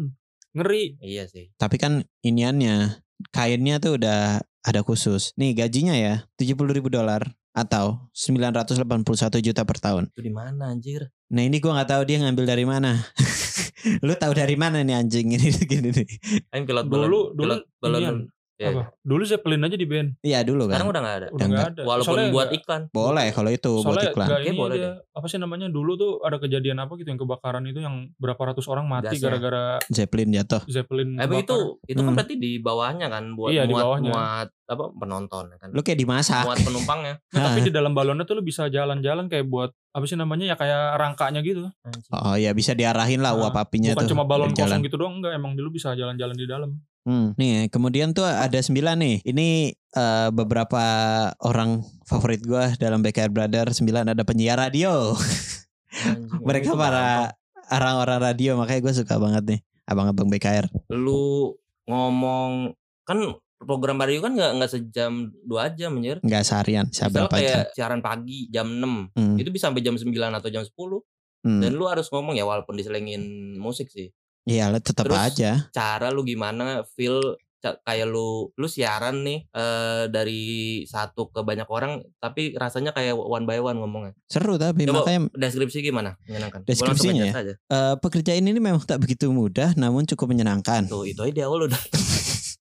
Speaker 3: Ngeri.
Speaker 2: Iya sih.
Speaker 1: Tapi kan iniannya kainnya tuh udah ada khusus. Nih gajinya ya 70.000 ribu dolar atau 981 juta per tahun.
Speaker 2: Itu di mana anjir?
Speaker 1: Nah ini gua nggak tahu dia ngambil dari mana. Lu tahu dari mana nih anjing ini gini nih.
Speaker 2: Kan pilot balon.
Speaker 3: Dulu- dulu
Speaker 2: pilot balon.
Speaker 3: inian.
Speaker 2: Iya.
Speaker 3: Apa? Dulu Zeppelin aja di band.
Speaker 1: Iya dulu
Speaker 2: Sekarang
Speaker 1: kan.
Speaker 2: udah nggak ada.
Speaker 3: Udah
Speaker 1: nggak
Speaker 3: nggak ada.
Speaker 2: Walaupun
Speaker 3: Soalnya
Speaker 2: buat
Speaker 3: nggak-
Speaker 2: iklan.
Speaker 1: Boleh kalau itu buat
Speaker 3: Soalnya
Speaker 1: iklan.
Speaker 3: nggak
Speaker 2: Oke,
Speaker 3: ini
Speaker 2: boleh
Speaker 3: dia, apa sih namanya dulu tuh ada kejadian apa gitu yang kebakaran itu yang berapa ratus orang mati
Speaker 2: Gasnya.
Speaker 3: gara-gara
Speaker 1: Zeppelin jatuh.
Speaker 3: Zeppelin
Speaker 2: Tapi itu
Speaker 3: kebakar.
Speaker 2: itu kan
Speaker 1: Hmm.
Speaker 2: berarti di bawahnya kan buat
Speaker 3: Iya, di
Speaker 2: muat,
Speaker 3: bawahnya.
Speaker 2: muat apa penonton kan.
Speaker 1: Lu kayak dimasak. Ah.
Speaker 2: Muat penumpangnya.
Speaker 3: Nah, tapi di dalam balonnya tuh lu bisa jalan-jalan kayak buat apa sih namanya ya kayak rangkanya gitu.
Speaker 2: Anjing.
Speaker 1: Oh ya bisa diarahin lah uap apinya Iya
Speaker 3: Bukan
Speaker 1: tuh.
Speaker 3: cuma balon
Speaker 1: dari jalan.
Speaker 3: kosong gitu doang enggak, emang dulu bisa jalan-jalan di dalam.
Speaker 1: Hmm. Nih, kemudian tuh ada sembilan nih. Ini eh, beberapa orang favorit gua dalam BKR Brother. Sembilan ada penyiar radio.
Speaker 2: Anjing.
Speaker 1: Mereka
Speaker 2: Itu
Speaker 1: para orang-orang radio, makanya gue suka banget nih abang-abang BKR.
Speaker 2: lu ngomong kan program radio kan nggak nggak sejam dua jam anjir.
Speaker 1: nggak seharian bisa
Speaker 2: Misalnya
Speaker 1: berapa jam
Speaker 2: kayak siaran pagi jam 6
Speaker 1: Hmm,
Speaker 2: ya? itu bisa sampai jam 9 atau jam 10
Speaker 1: hmm.
Speaker 2: dan lu harus ngomong ya walaupun diselengin musik sih
Speaker 1: Iya lah tetap
Speaker 2: Terus-
Speaker 1: aja
Speaker 2: cara lu gimana feel ca- kayak lu lu siaran nih eh, dari satu ke banyak orang tapi rasanya kayak one by one ngomongnya
Speaker 1: seru tapi
Speaker 2: Coba-
Speaker 1: makanya
Speaker 2: deskripsi gimana menyenangkan Gua langsung
Speaker 1: Deskripsinya
Speaker 2: ngejat aja.
Speaker 1: eh, pekerjaan ini memang tak begitu mudah namun cukup menyenangkan
Speaker 2: tuh itu aja di awal udah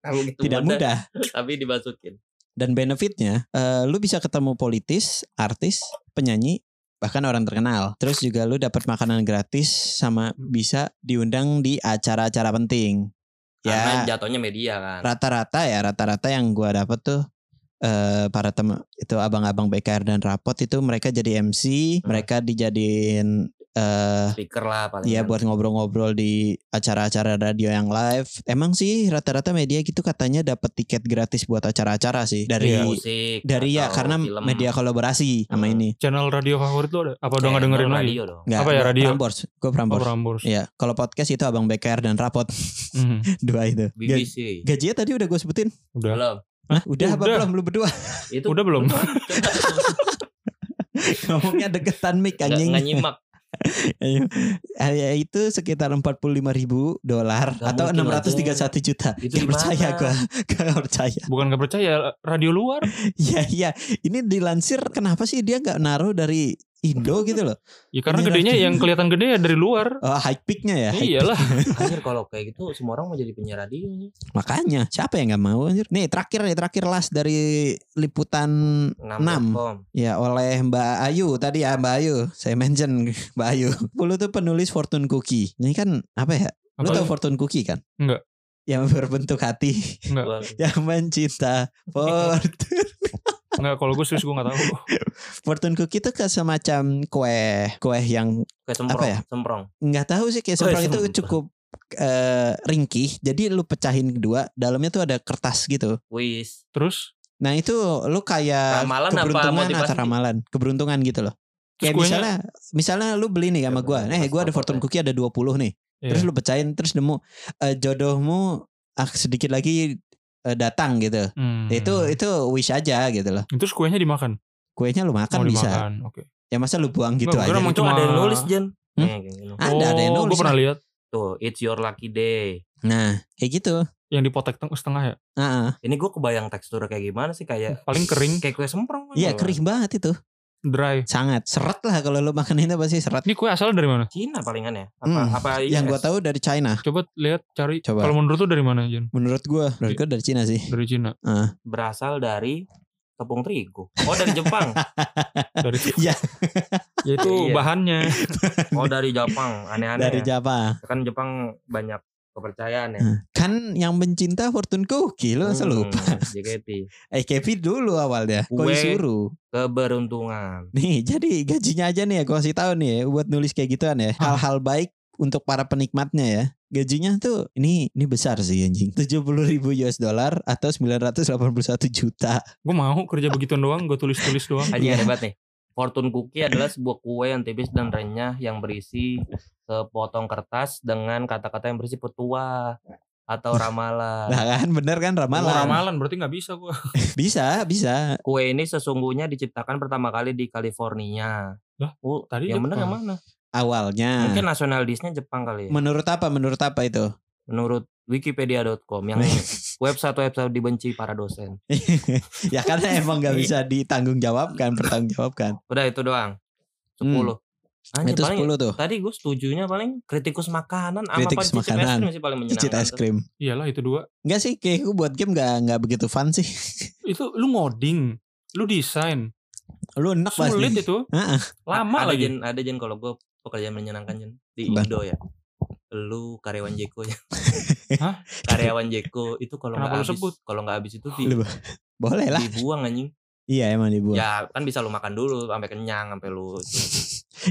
Speaker 2: Kamu gitu
Speaker 1: tidak mudah
Speaker 2: tapi dimasukin
Speaker 1: dan benefitnya eh, lu bisa ketemu politis artis penyanyi bahkan orang terkenal terus juga lu dapat makanan gratis sama bisa diundang di acara-acara penting
Speaker 2: karena
Speaker 1: ya
Speaker 2: jatuhnya media kan
Speaker 1: rata-rata ya rata-rata yang gua dapat tuh eh para teman itu abang-abang BKR dan rapot itu mereka jadi MC
Speaker 2: Hmm.
Speaker 1: mereka dijadiin eh
Speaker 2: speaker lah paling
Speaker 1: Iya
Speaker 2: kan.
Speaker 1: buat ngobrol-ngobrol di acara-acara radio yang live. Emang sih rata-rata media gitu katanya dapat tiket gratis buat acara-acara sih dari
Speaker 3: Iya.
Speaker 2: musik
Speaker 1: dari ya
Speaker 2: atau
Speaker 1: karena
Speaker 2: film.
Speaker 1: media kolaborasi sama
Speaker 2: Hmm.
Speaker 1: ini.
Speaker 3: Channel radio favorit lo ada? Apa udah nggak
Speaker 2: Channel
Speaker 3: dengerin lagi?
Speaker 2: radio dong
Speaker 1: Nggak,
Speaker 3: Apa ya,
Speaker 1: gua
Speaker 3: radio?
Speaker 1: Prambors, gue
Speaker 3: Oh,
Speaker 1: Prambors.
Speaker 3: Prambors.
Speaker 1: Iya, kalau podcast itu Abang BKR dan Rapot
Speaker 3: Hmm,
Speaker 1: dua itu. Ga-
Speaker 2: BBC
Speaker 1: gajinya tadi udah gue sebutin.
Speaker 3: udah.
Speaker 2: belum
Speaker 1: Hah, udah, apa
Speaker 3: Udah.
Speaker 1: belum lu berdua?
Speaker 2: itu
Speaker 3: Udah belum?
Speaker 1: Ngomongnya deketan mic
Speaker 2: nggak
Speaker 1: anjing.
Speaker 2: nggak nyimak
Speaker 1: Ayo. Eh, itu sekitar 45 ribu dolar
Speaker 2: Nggak
Speaker 1: atau
Speaker 2: mungkin
Speaker 1: 631 juta.
Speaker 2: Itu
Speaker 1: Gak
Speaker 2: di
Speaker 1: percaya
Speaker 2: mana?
Speaker 1: gue, gak percaya.
Speaker 3: Bukan nggak percaya radio luar.
Speaker 1: Iya iya, ini dilansir kenapa sih dia nggak naruh dari Indo gitu loh?
Speaker 3: Ya
Speaker 1: Ini
Speaker 3: karena gedenya
Speaker 1: radio.
Speaker 3: yang kelihatan gede ya dari luar.
Speaker 1: Oh, high peaknya ya. high
Speaker 3: Iyalah.
Speaker 2: Anjir kalau kayak gitu semua orang mau jadi penyiar radio nih.
Speaker 1: peak. Makanya siapa yang nggak mau anjir? Nih terakhir nih terakhir last dari liputan
Speaker 2: 6.com.
Speaker 1: ya oleh Mbak Ayu tadi ya Mbak Ayu. Saya mention Mbak Ayu. Pulu tuh penulis fortune cookie. Ini kan apa ya? Lu
Speaker 3: Apa?
Speaker 1: tau fortune cookie kan?
Speaker 3: Enggak.
Speaker 1: Yang berbentuk hati,
Speaker 3: Enggak,
Speaker 2: Gua-
Speaker 1: yang mencinta fortune.
Speaker 3: enggak kalau gue serius gue enggak tahu.
Speaker 1: fortune cookie itu kayak semacam kue, kue yang
Speaker 2: kayak semprong,
Speaker 1: ya?
Speaker 2: semprong.
Speaker 1: nggak tahu sih kayak
Speaker 2: Oh, ya,
Speaker 1: semprong itu
Speaker 2: semprong.
Speaker 1: cukup eh, ringkih jadi lu pecahin kedua dalamnya tuh ada kertas gitu
Speaker 2: Wis.
Speaker 3: Terus
Speaker 1: nah itu lu kayak
Speaker 2: Ramalan apa
Speaker 1: keberuntungan
Speaker 2: motivasi?
Speaker 1: atau ramalan keberuntungan gitu loh
Speaker 3: Terus
Speaker 1: kayak
Speaker 3: kuenya-
Speaker 1: misalnya misalnya lu beli nih sama
Speaker 2: Ya,
Speaker 1: gua
Speaker 2: bener,
Speaker 1: eh
Speaker 2: pas
Speaker 1: gua ada
Speaker 2: foto
Speaker 1: fortune
Speaker 2: ya.
Speaker 1: cookie ada 20 nih terus
Speaker 3: Iya.
Speaker 1: lu pecahin terus nemu eh, jodohmu ah, sedikit lagi eh, datang gitu
Speaker 3: Hmm.
Speaker 1: itu itu wish aja gitu loh
Speaker 3: Terus kuenya dimakan.
Speaker 1: kuenya lu makan
Speaker 3: Mau
Speaker 1: Kan bisa
Speaker 3: dimakan. Oke.
Speaker 1: ya masa lu buang gitu
Speaker 3: Nggak, gua
Speaker 1: aja
Speaker 3: emang
Speaker 2: Itu
Speaker 3: cuma-
Speaker 2: ada yang nulis Jen.
Speaker 1: Hmm?
Speaker 2: Nih, kayak gini.
Speaker 1: Ada, ada yang
Speaker 3: Oh,
Speaker 1: nulis
Speaker 3: gue pernah lihat
Speaker 2: Tuh, it's your lucky day.
Speaker 1: nah kayak gitu
Speaker 3: yang dipotek teng- setengah ya.
Speaker 1: Heeh.
Speaker 2: Ini gue kebayang tekstur kayak gimana sih kayak
Speaker 3: Paling kering,
Speaker 2: kayak kue semprong. kan,
Speaker 1: iya
Speaker 2: kalau
Speaker 1: kering banget itu
Speaker 3: dry.
Speaker 1: sangat seret lah kalau lu makan itu pasti seret
Speaker 3: Ini kue asal dari mana?
Speaker 2: Cina palingan ya. Apa
Speaker 1: Hmm,
Speaker 2: apa
Speaker 1: yang
Speaker 3: Iya,
Speaker 2: US?
Speaker 1: gua tahu dari China
Speaker 3: Coba lihat cari.
Speaker 1: Coba.
Speaker 3: Kalau menurut lu dari mana, Jan?
Speaker 1: menurut gua menurut gua dari Cina sih
Speaker 3: Dari Cina,
Speaker 2: berasal dari tepung terigu. Oh dari Jepang.
Speaker 3: dari
Speaker 1: Iya.
Speaker 3: Ya itu
Speaker 2: Iya.
Speaker 3: bahannya.
Speaker 2: oh dari Jepang. Aneh-aneh.
Speaker 1: dari
Speaker 2: ya.
Speaker 1: Java
Speaker 2: Kan Jepang banyak kepercayaan ya.
Speaker 1: kan yang mencinta fortune cookie lu masa lupa
Speaker 2: Hmm, JKT.
Speaker 1: AKP dulu awalnya gua
Speaker 2: Kue.
Speaker 1: disuruh
Speaker 2: Keberuntungan.
Speaker 1: nih jadi gajinya aja nih ya gua kasih tahu nih ya buat nulis kayak gituan ya
Speaker 2: Ah.
Speaker 3: Hah.
Speaker 1: hal-hal baik untuk para penikmatnya ya gajinya tuh ini ini besar sih anjing 70 ribu US dollar atau 981 juta
Speaker 3: Gue mau kerja begituan doang, gue tulis-tulis doang.
Speaker 2: Aji
Speaker 1: Iya.
Speaker 2: hebat nih. Fortune cookie adalah sebuah kue yang tipis dan renyah yang berisi sepotong kertas dengan kata-kata yang berisi petua atau ramalan.
Speaker 1: nah kan bener kan
Speaker 3: Oh,
Speaker 1: ramalan
Speaker 3: ramalan berarti nggak bisa gue.
Speaker 1: bisa bisa
Speaker 2: Kue ini sesungguhnya diciptakan pertama kali di California.
Speaker 3: Lah,
Speaker 2: Oh,
Speaker 3: tadi
Speaker 2: yang benar
Speaker 3: Jepang.
Speaker 2: yang mana?
Speaker 1: Nah. awalnya
Speaker 2: Mungkin nasionalisnya Jepang kali ya.
Speaker 1: menurut apa menurut apa itu
Speaker 2: Menurut wikipedia.com
Speaker 1: Nah.
Speaker 2: yang website-website dibenci para dosen.
Speaker 1: ya karena emang
Speaker 2: Iya.
Speaker 1: nggak bisa ditanggung jawabkan pertanggung jawabkan
Speaker 2: Udah itu doang. 10. Anjir,
Speaker 1: Hmm. itu
Speaker 2: paling
Speaker 1: 10 tuh
Speaker 2: tadi gue setujunya paling kritikus makanan sama
Speaker 1: Kritikus
Speaker 2: pencicip es krim
Speaker 1: makanan.
Speaker 2: masih paling
Speaker 1: cicit
Speaker 2: menyenangkan.
Speaker 1: es krim
Speaker 3: Iyalah itu dua.
Speaker 1: Enggak sih kayak gue buat game nggak nggak begitu fun sih
Speaker 3: Itu lu ngoding, lu desain,
Speaker 1: lu enak
Speaker 2: ya,
Speaker 3: sulit
Speaker 1: pasti
Speaker 3: itu.
Speaker 1: Heeh.
Speaker 3: Lama
Speaker 2: ada
Speaker 3: lagi.
Speaker 2: Jen, ada Jen kalau gue pekerjaan menyenangkan Jen di
Speaker 1: Apa?
Speaker 2: Indo ya. Lu karyawan Jeko ya.
Speaker 3: Hah?
Speaker 2: Karyawan Jeko itu kalau nggak
Speaker 3: Kenapa lu
Speaker 2: habis,
Speaker 3: sebut?
Speaker 2: kalau nggak habis itu di,
Speaker 1: Lu- boleh lah
Speaker 2: dibuang anjing.
Speaker 1: iya emang dibuang
Speaker 2: Ya kan bisa lu makan dulu sampai kenyang sampai lu. itu.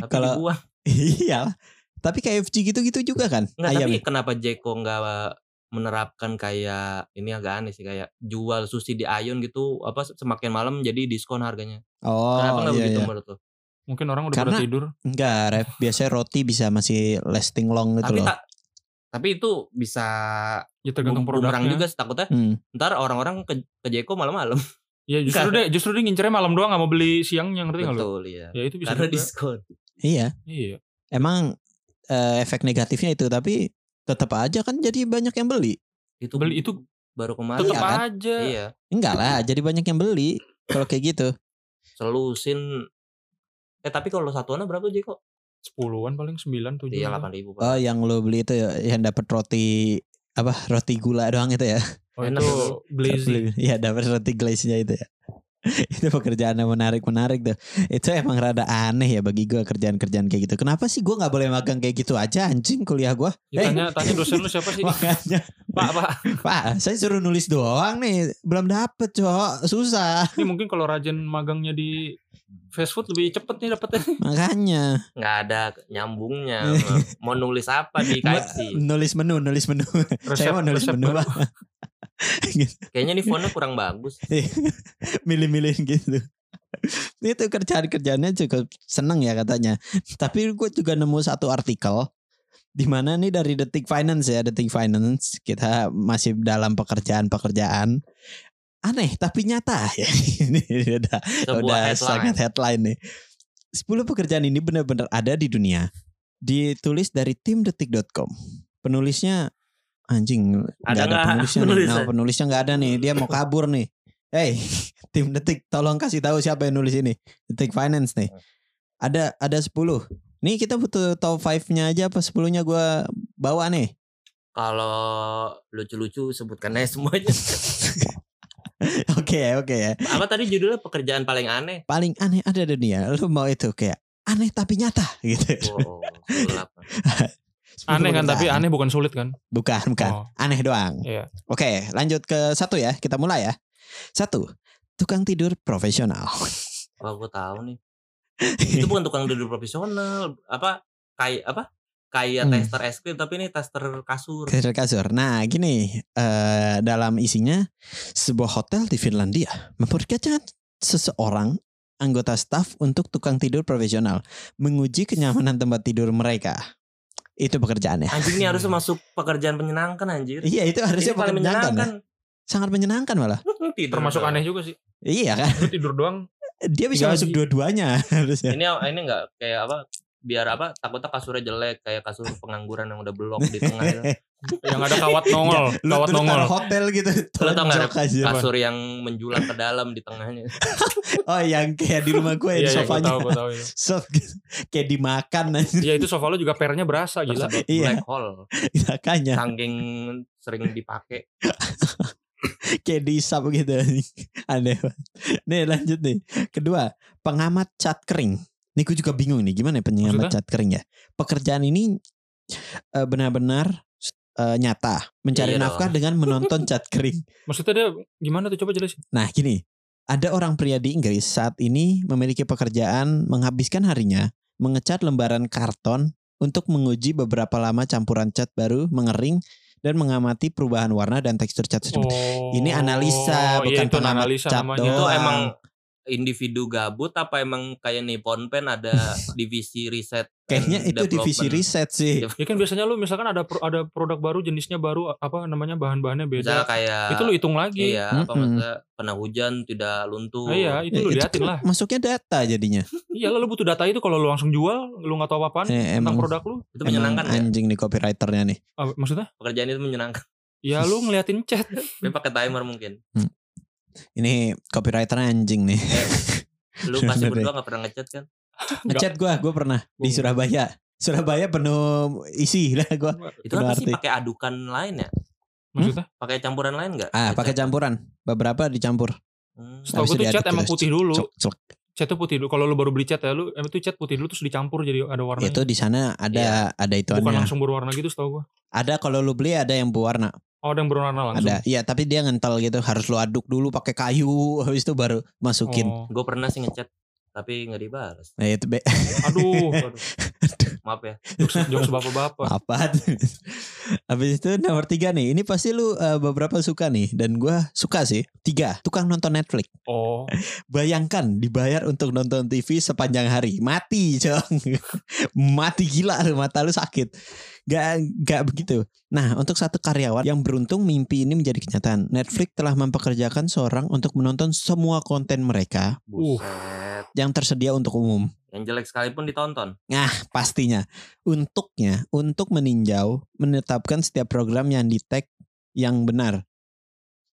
Speaker 2: Tapi
Speaker 1: Kalau-
Speaker 2: dibuang.
Speaker 1: iya lah. tapi KFC gitu gitu juga kan
Speaker 2: Nggak,
Speaker 1: ayam
Speaker 2: tapi kenapa Jeko nggak menerapkan kayak ini agak aneh sih kayak jual sushi di Ayun gitu apa semakin malam jadi diskon harganya. kenapa
Speaker 1: oh
Speaker 2: nggak
Speaker 1: iya,
Speaker 2: begitu
Speaker 1: iya.
Speaker 2: menurut lu?
Speaker 3: Mungkin orang udah
Speaker 1: Karena-
Speaker 3: pada tidur.
Speaker 1: enggak ref biasanya roti bisa masih lasting long gitu
Speaker 2: Tapi
Speaker 1: loh
Speaker 2: tak Tapi itu bisa
Speaker 3: Ya tergantung
Speaker 2: bum- bumerang
Speaker 3: produknya.
Speaker 2: juga sih, takutnya.
Speaker 1: Hmm.
Speaker 2: Ntar orang-orang ke, ke Jeko malam-malam.
Speaker 3: Iya justru
Speaker 2: Karena-
Speaker 3: deh, justru dia ngincernya malam doang nggak mau beli siangnya ngerti nggak lu?
Speaker 2: Betul iya.
Speaker 3: Ya itu bisa
Speaker 2: Karena
Speaker 3: juga.
Speaker 2: diskon.
Speaker 1: Iya,
Speaker 3: Iya.
Speaker 1: emang eh, efek negatifnya itu tapi tetap aja kan jadi banyak yang beli.
Speaker 2: Itu
Speaker 3: Beli itu
Speaker 2: baru kemarin.
Speaker 3: tetap
Speaker 1: Iya kan?
Speaker 3: aja.
Speaker 2: Iya.
Speaker 1: Enggak lah, jadi banyak yang beli kalau kayak gitu.
Speaker 2: Selusin. Eh tapi kalau satuannya berapa Jeko?
Speaker 3: Sepuluhan paling sembilan tujuh.
Speaker 2: Iya
Speaker 3: lah.
Speaker 2: 8 ribu
Speaker 1: Oh, yang lo beli itu ya, yang dapat roti apa roti gula doang itu ya?
Speaker 3: Oh,
Speaker 2: Enak
Speaker 3: itu
Speaker 2: dulu.
Speaker 3: Blazy.
Speaker 1: Iya, dapat roti glaze-nya itu ya. itu pekerjaan yang menarik-menarik tuh. Itu emang rada aneh ya bagi gua kerjaan-kerjaan kayak gitu. Kenapa sih gua nggak boleh magang kayak gitu aja anjing kuliah gua? Eh.
Speaker 3: Ya, tanya, tanya dosen lu siapa sih?
Speaker 1: Makanya
Speaker 3: Pak, Pak.
Speaker 1: Pak, saya suruh nulis doang nih, belum dapet cok, susah.
Speaker 3: Ini mungkin kalau rajin magangnya di fast food lebih cepet nih dapetnya.
Speaker 1: Makanya
Speaker 2: Nggak ada nyambungnya. mau nulis apa di KFC?
Speaker 1: nulis menu, nulis menu. saya mau nulis
Speaker 3: resep
Speaker 1: menu
Speaker 3: baru.
Speaker 1: Pak.
Speaker 2: Kayaknya nih fontnya kurang bagus.
Speaker 1: Milih-milih gitu. Itu kerjaan-kerjaannya cukup seneng ya katanya. Tapi gue juga nemu satu artikel di mana nih dari Detik Finance ya, Detik Finance kita masih dalam pekerjaan-pekerjaan aneh tapi nyata ya. Ini udah
Speaker 2: Sebuah
Speaker 1: udah sangat
Speaker 2: headline.
Speaker 1: headline nih. 10 pekerjaan ini benar-benar ada di dunia. Ditulis dari tim detik.com. Penulisnya anjing nggak ada
Speaker 2: Ada nggak
Speaker 1: penulisnya. nih.
Speaker 2: penulisnya?
Speaker 1: Nah, penulisnya nggak ada nih. Dia mau kabur nih. Hey, tim detik tolong kasih tahu siapa yang nulis ini. Detik Finance nih. Ada ada 10. Nih kita butuh top 5-nya aja apa 10-nya gua bawa nih.
Speaker 2: Kalau lucu-lucu sebutkan aja semuanya.
Speaker 1: Oke, oke ya.
Speaker 2: apa tadi judulnya pekerjaan paling aneh?
Speaker 1: Paling aneh ada di dunia. Lu mau itu kayak aneh tapi nyata gitu.
Speaker 2: Wow, gelap.
Speaker 1: 10
Speaker 3: Aneh kan, tapi
Speaker 1: pekerjaan.
Speaker 3: aneh bukan sulit kan?
Speaker 1: Bukan, Iya. bukan.
Speaker 3: Oh,
Speaker 1: Aneh doang.
Speaker 3: Iya.
Speaker 1: Oke, lanjut ke satu ya. Kita mulai ya. Satu, tukang tidur profesional.
Speaker 2: Wah, gue tahu nih.
Speaker 1: Iya.
Speaker 2: Itu bukan tukang duduk profesional, apa kayak apa? Kayak
Speaker 1: Hmm.
Speaker 2: tester es krim tapi ini tester kasur.
Speaker 1: Tidur kasur. Nah, gini, eh, dalam isinya sebuah hotel di Finlandia memperkerjakan seseorang anggota staf untuk tukang tidur profesional menguji kenyamanan tempat tidur mereka. Itu pekerjaannya.
Speaker 2: Anjing ini harusnya masuk pekerjaan menyenangkan anjir.
Speaker 1: Iya, itu harusnya
Speaker 2: ini paling
Speaker 1: menyenangkan.
Speaker 2: menyenangkan.
Speaker 1: ya. Sangat menyenangkan malah.
Speaker 2: Tidur
Speaker 3: Termasuk
Speaker 2: doang.
Speaker 3: aneh juga sih.
Speaker 1: Iya kan?
Speaker 3: Lu tidur doang.
Speaker 1: Dia
Speaker 2: Iya,
Speaker 1: bisa
Speaker 3: Digaji.
Speaker 1: masuk dua-duanya harusnya.
Speaker 2: Ini ini enggak kayak apa? Biar apa? Takutnya kasurnya jelek kayak kasur pengangguran yang udah blok di tengah. itu.
Speaker 3: Yang ada kawat nongol.
Speaker 1: Iya. Lu
Speaker 3: kawat
Speaker 1: terus
Speaker 3: nongol.
Speaker 1: taruh hotel gitu.
Speaker 2: Lu tau nggak ada
Speaker 1: Tonjok aja.
Speaker 2: Kasur yang menjulang ke dalam di tengahnya.
Speaker 1: Oh yang kayak di rumah gue
Speaker 3: Iya,
Speaker 1: di
Speaker 3: iya, gua tahu,
Speaker 1: sofanya.
Speaker 3: gua tahu. iya.
Speaker 1: Sof gitu. kayak dimakan aja
Speaker 3: Iya, itu sofa lu juga pernya berasa gila.
Speaker 2: Tersebut
Speaker 1: Iya.
Speaker 2: black hole.
Speaker 1: makanya
Speaker 2: Sangking sering dipakai.
Speaker 1: kayak diisap gitu aneh banget nih lanjut nih kedua pengamat cat kering nih gue juga bingung nih gimana ya pengamat
Speaker 3: Maksudnya?
Speaker 1: cat kering ya pekerjaan ini eh, benar-benar eh, nyata mencari
Speaker 2: Iya dong.
Speaker 1: nafkah dengan menonton cat kering
Speaker 3: Maksudnya dia gimana tuh coba jelasin.
Speaker 1: Nah gini, ada orang pria di Inggris saat ini memiliki pekerjaan menghabiskan harinya mengecat lembaran karton untuk menguji beberapa lama campuran cat baru mengering dan mengamati perubahan warna dan tekstur cat tersebut.
Speaker 3: Oh,
Speaker 1: Ini analisa,
Speaker 3: iya,
Speaker 1: bukan
Speaker 3: itu
Speaker 1: pengamat
Speaker 3: analisa
Speaker 1: cat
Speaker 3: namanya.
Speaker 1: doang.
Speaker 2: itu
Speaker 1: Doang.
Speaker 2: emang individu gabut apa emang kayak Nippon Pen ada divisi riset and
Speaker 1: Kayaknya itu divisi
Speaker 2: development?
Speaker 1: riset sih.
Speaker 3: Ya kan biasanya lu misalkan ada pro- ada produk baru jenisnya baru apa namanya bahan-bahannya
Speaker 2: misalnya
Speaker 3: beda.
Speaker 2: kayak
Speaker 3: itu lu hitung lagi.
Speaker 2: iya
Speaker 1: Mm-mm.
Speaker 2: apa maksudnya kena hujan tidak luntur
Speaker 3: Nah, iya, itu
Speaker 1: Ya,
Speaker 3: lu
Speaker 1: itu
Speaker 3: liatin
Speaker 1: kan
Speaker 3: lah.
Speaker 1: Masuknya data jadinya.
Speaker 3: Iya, lu butuh data itu kalau lu langsung jual, lu nggak tahu apa-apaan
Speaker 1: Eh,
Speaker 3: Kan tentang
Speaker 1: emang,
Speaker 3: produk lu.
Speaker 2: itu
Speaker 1: emang iya.
Speaker 2: menyenangkan ya
Speaker 1: anjing nih copywriternya nih.
Speaker 3: Apa- maksudnya?
Speaker 2: pekerjaan itu menyenangkan
Speaker 3: Ya lu ngeliatin chat.
Speaker 2: tapi pakai timer mungkin
Speaker 1: Ini copywriternya anjing nih.
Speaker 2: lu pasti
Speaker 1: Bener deh.
Speaker 2: berdua gak pernah ngechat kan
Speaker 1: Ngecat gua, gua pernah di
Speaker 3: Gua-
Speaker 1: Surabaya. Surabaya penuh isi lah gua.
Speaker 2: itu apa sih
Speaker 1: Berarti.
Speaker 2: pakai adukan lain ya
Speaker 3: Maksudnya?
Speaker 1: Hmm?
Speaker 2: pakai campuran lain nggak
Speaker 1: Ah, pakai
Speaker 2: Ngechat?
Speaker 1: campuran. Beberapa dicampur.
Speaker 2: Hmm.
Speaker 3: Setahu
Speaker 1: Habis
Speaker 3: gue
Speaker 1: itu
Speaker 3: tuh chat
Speaker 1: diaduk
Speaker 3: emang
Speaker 1: gitu,
Speaker 3: putih dulu.
Speaker 1: Cok, cok.
Speaker 3: Chat tuh putih dulu. Kalau lu baru beli chat ya lu emang tuh chat putih dulu terus dicampur jadi ada warnanya.
Speaker 1: Itu di sana ada ada
Speaker 3: ya? Iya. Bukan
Speaker 1: ituannya.
Speaker 3: langsung berwarna gitu setahu gua.
Speaker 1: Ada kalau lu beli ada yang berwarna.
Speaker 3: Oh, ada yang berwarna langsung.
Speaker 1: Ada. Iya, tapi dia ngental gitu. Harus lu aduk dulu pakai kayu, habis itu baru masukin.
Speaker 3: Oh.
Speaker 2: gue pernah sih ngechat tapi nggak dibalas
Speaker 1: Nah, itu be
Speaker 3: Aduh, aduh.
Speaker 2: maaf ya
Speaker 3: jokes, jokes bapak-bapak.
Speaker 1: apa? Habis itu nomor tiga nih. Ini pasti lu eh, beberapa suka nih. Dan gua suka sih. Tiga. Tukang nonton Netflix.
Speaker 3: Oh,
Speaker 1: Bayangkan dibayar untuk nonton TV sepanjang hari. Mati, Cong. Mati gila lu, mata lu sakit. Gak, gak begitu. Nah, untuk satu karyawan yang beruntung mimpi ini menjadi kenyataan. Netflix telah mempekerjakan seorang untuk menonton semua konten mereka
Speaker 2: Buset.
Speaker 1: yang tersedia untuk umum.
Speaker 2: Yang jelek sekalipun ditonton.
Speaker 1: pastinya untuknya untuk meninjau menetapkan setiap program yang di tag yang benar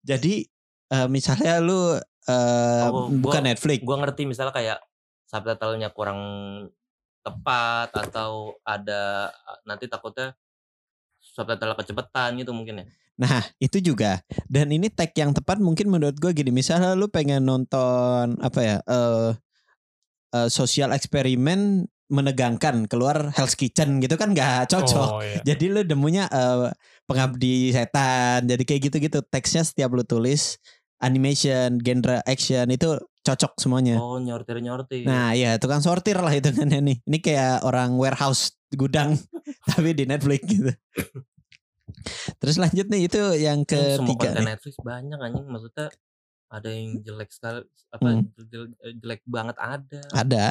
Speaker 1: jadi eh, misalnya lu eh,
Speaker 2: Oh,
Speaker 1: bukan
Speaker 2: gua-
Speaker 1: Netflix
Speaker 2: Gua ngerti misalnya kayak subtitlenya kurang tepat atau ada nanti takutnya subtitle kecepetan gitu mungkin ya.
Speaker 1: nah itu juga dan ini tag yang tepat mungkin menurut gue gini misalnya lu pengen nonton apa ya eh eh, sosial eksperimen menegangkan keluar Hell's Kitchen gitu kan nggak cocok
Speaker 3: oh iya.
Speaker 1: Jadi lu demunya eh, pengabdi setan. Jadi kayak gitu-gitu teksnya setiap lu tulis animation, genre action itu cocok semuanya.
Speaker 2: Oh nyortir
Speaker 1: Iya.
Speaker 2: nyortir.
Speaker 1: Nah, iya tukang sortir lah hitungannya nih. Ini kayak orang warehouse gudang tapi di Netflix gitu. Terus lanjut nih itu yang
Speaker 2: Kan semua
Speaker 1: ketiga
Speaker 2: konten
Speaker 1: nih.
Speaker 2: Netflix banyak anjing maksudnya ada yang jelek sekali apa
Speaker 1: Hmm.
Speaker 2: jelek, jelek banget ada.
Speaker 1: Ada.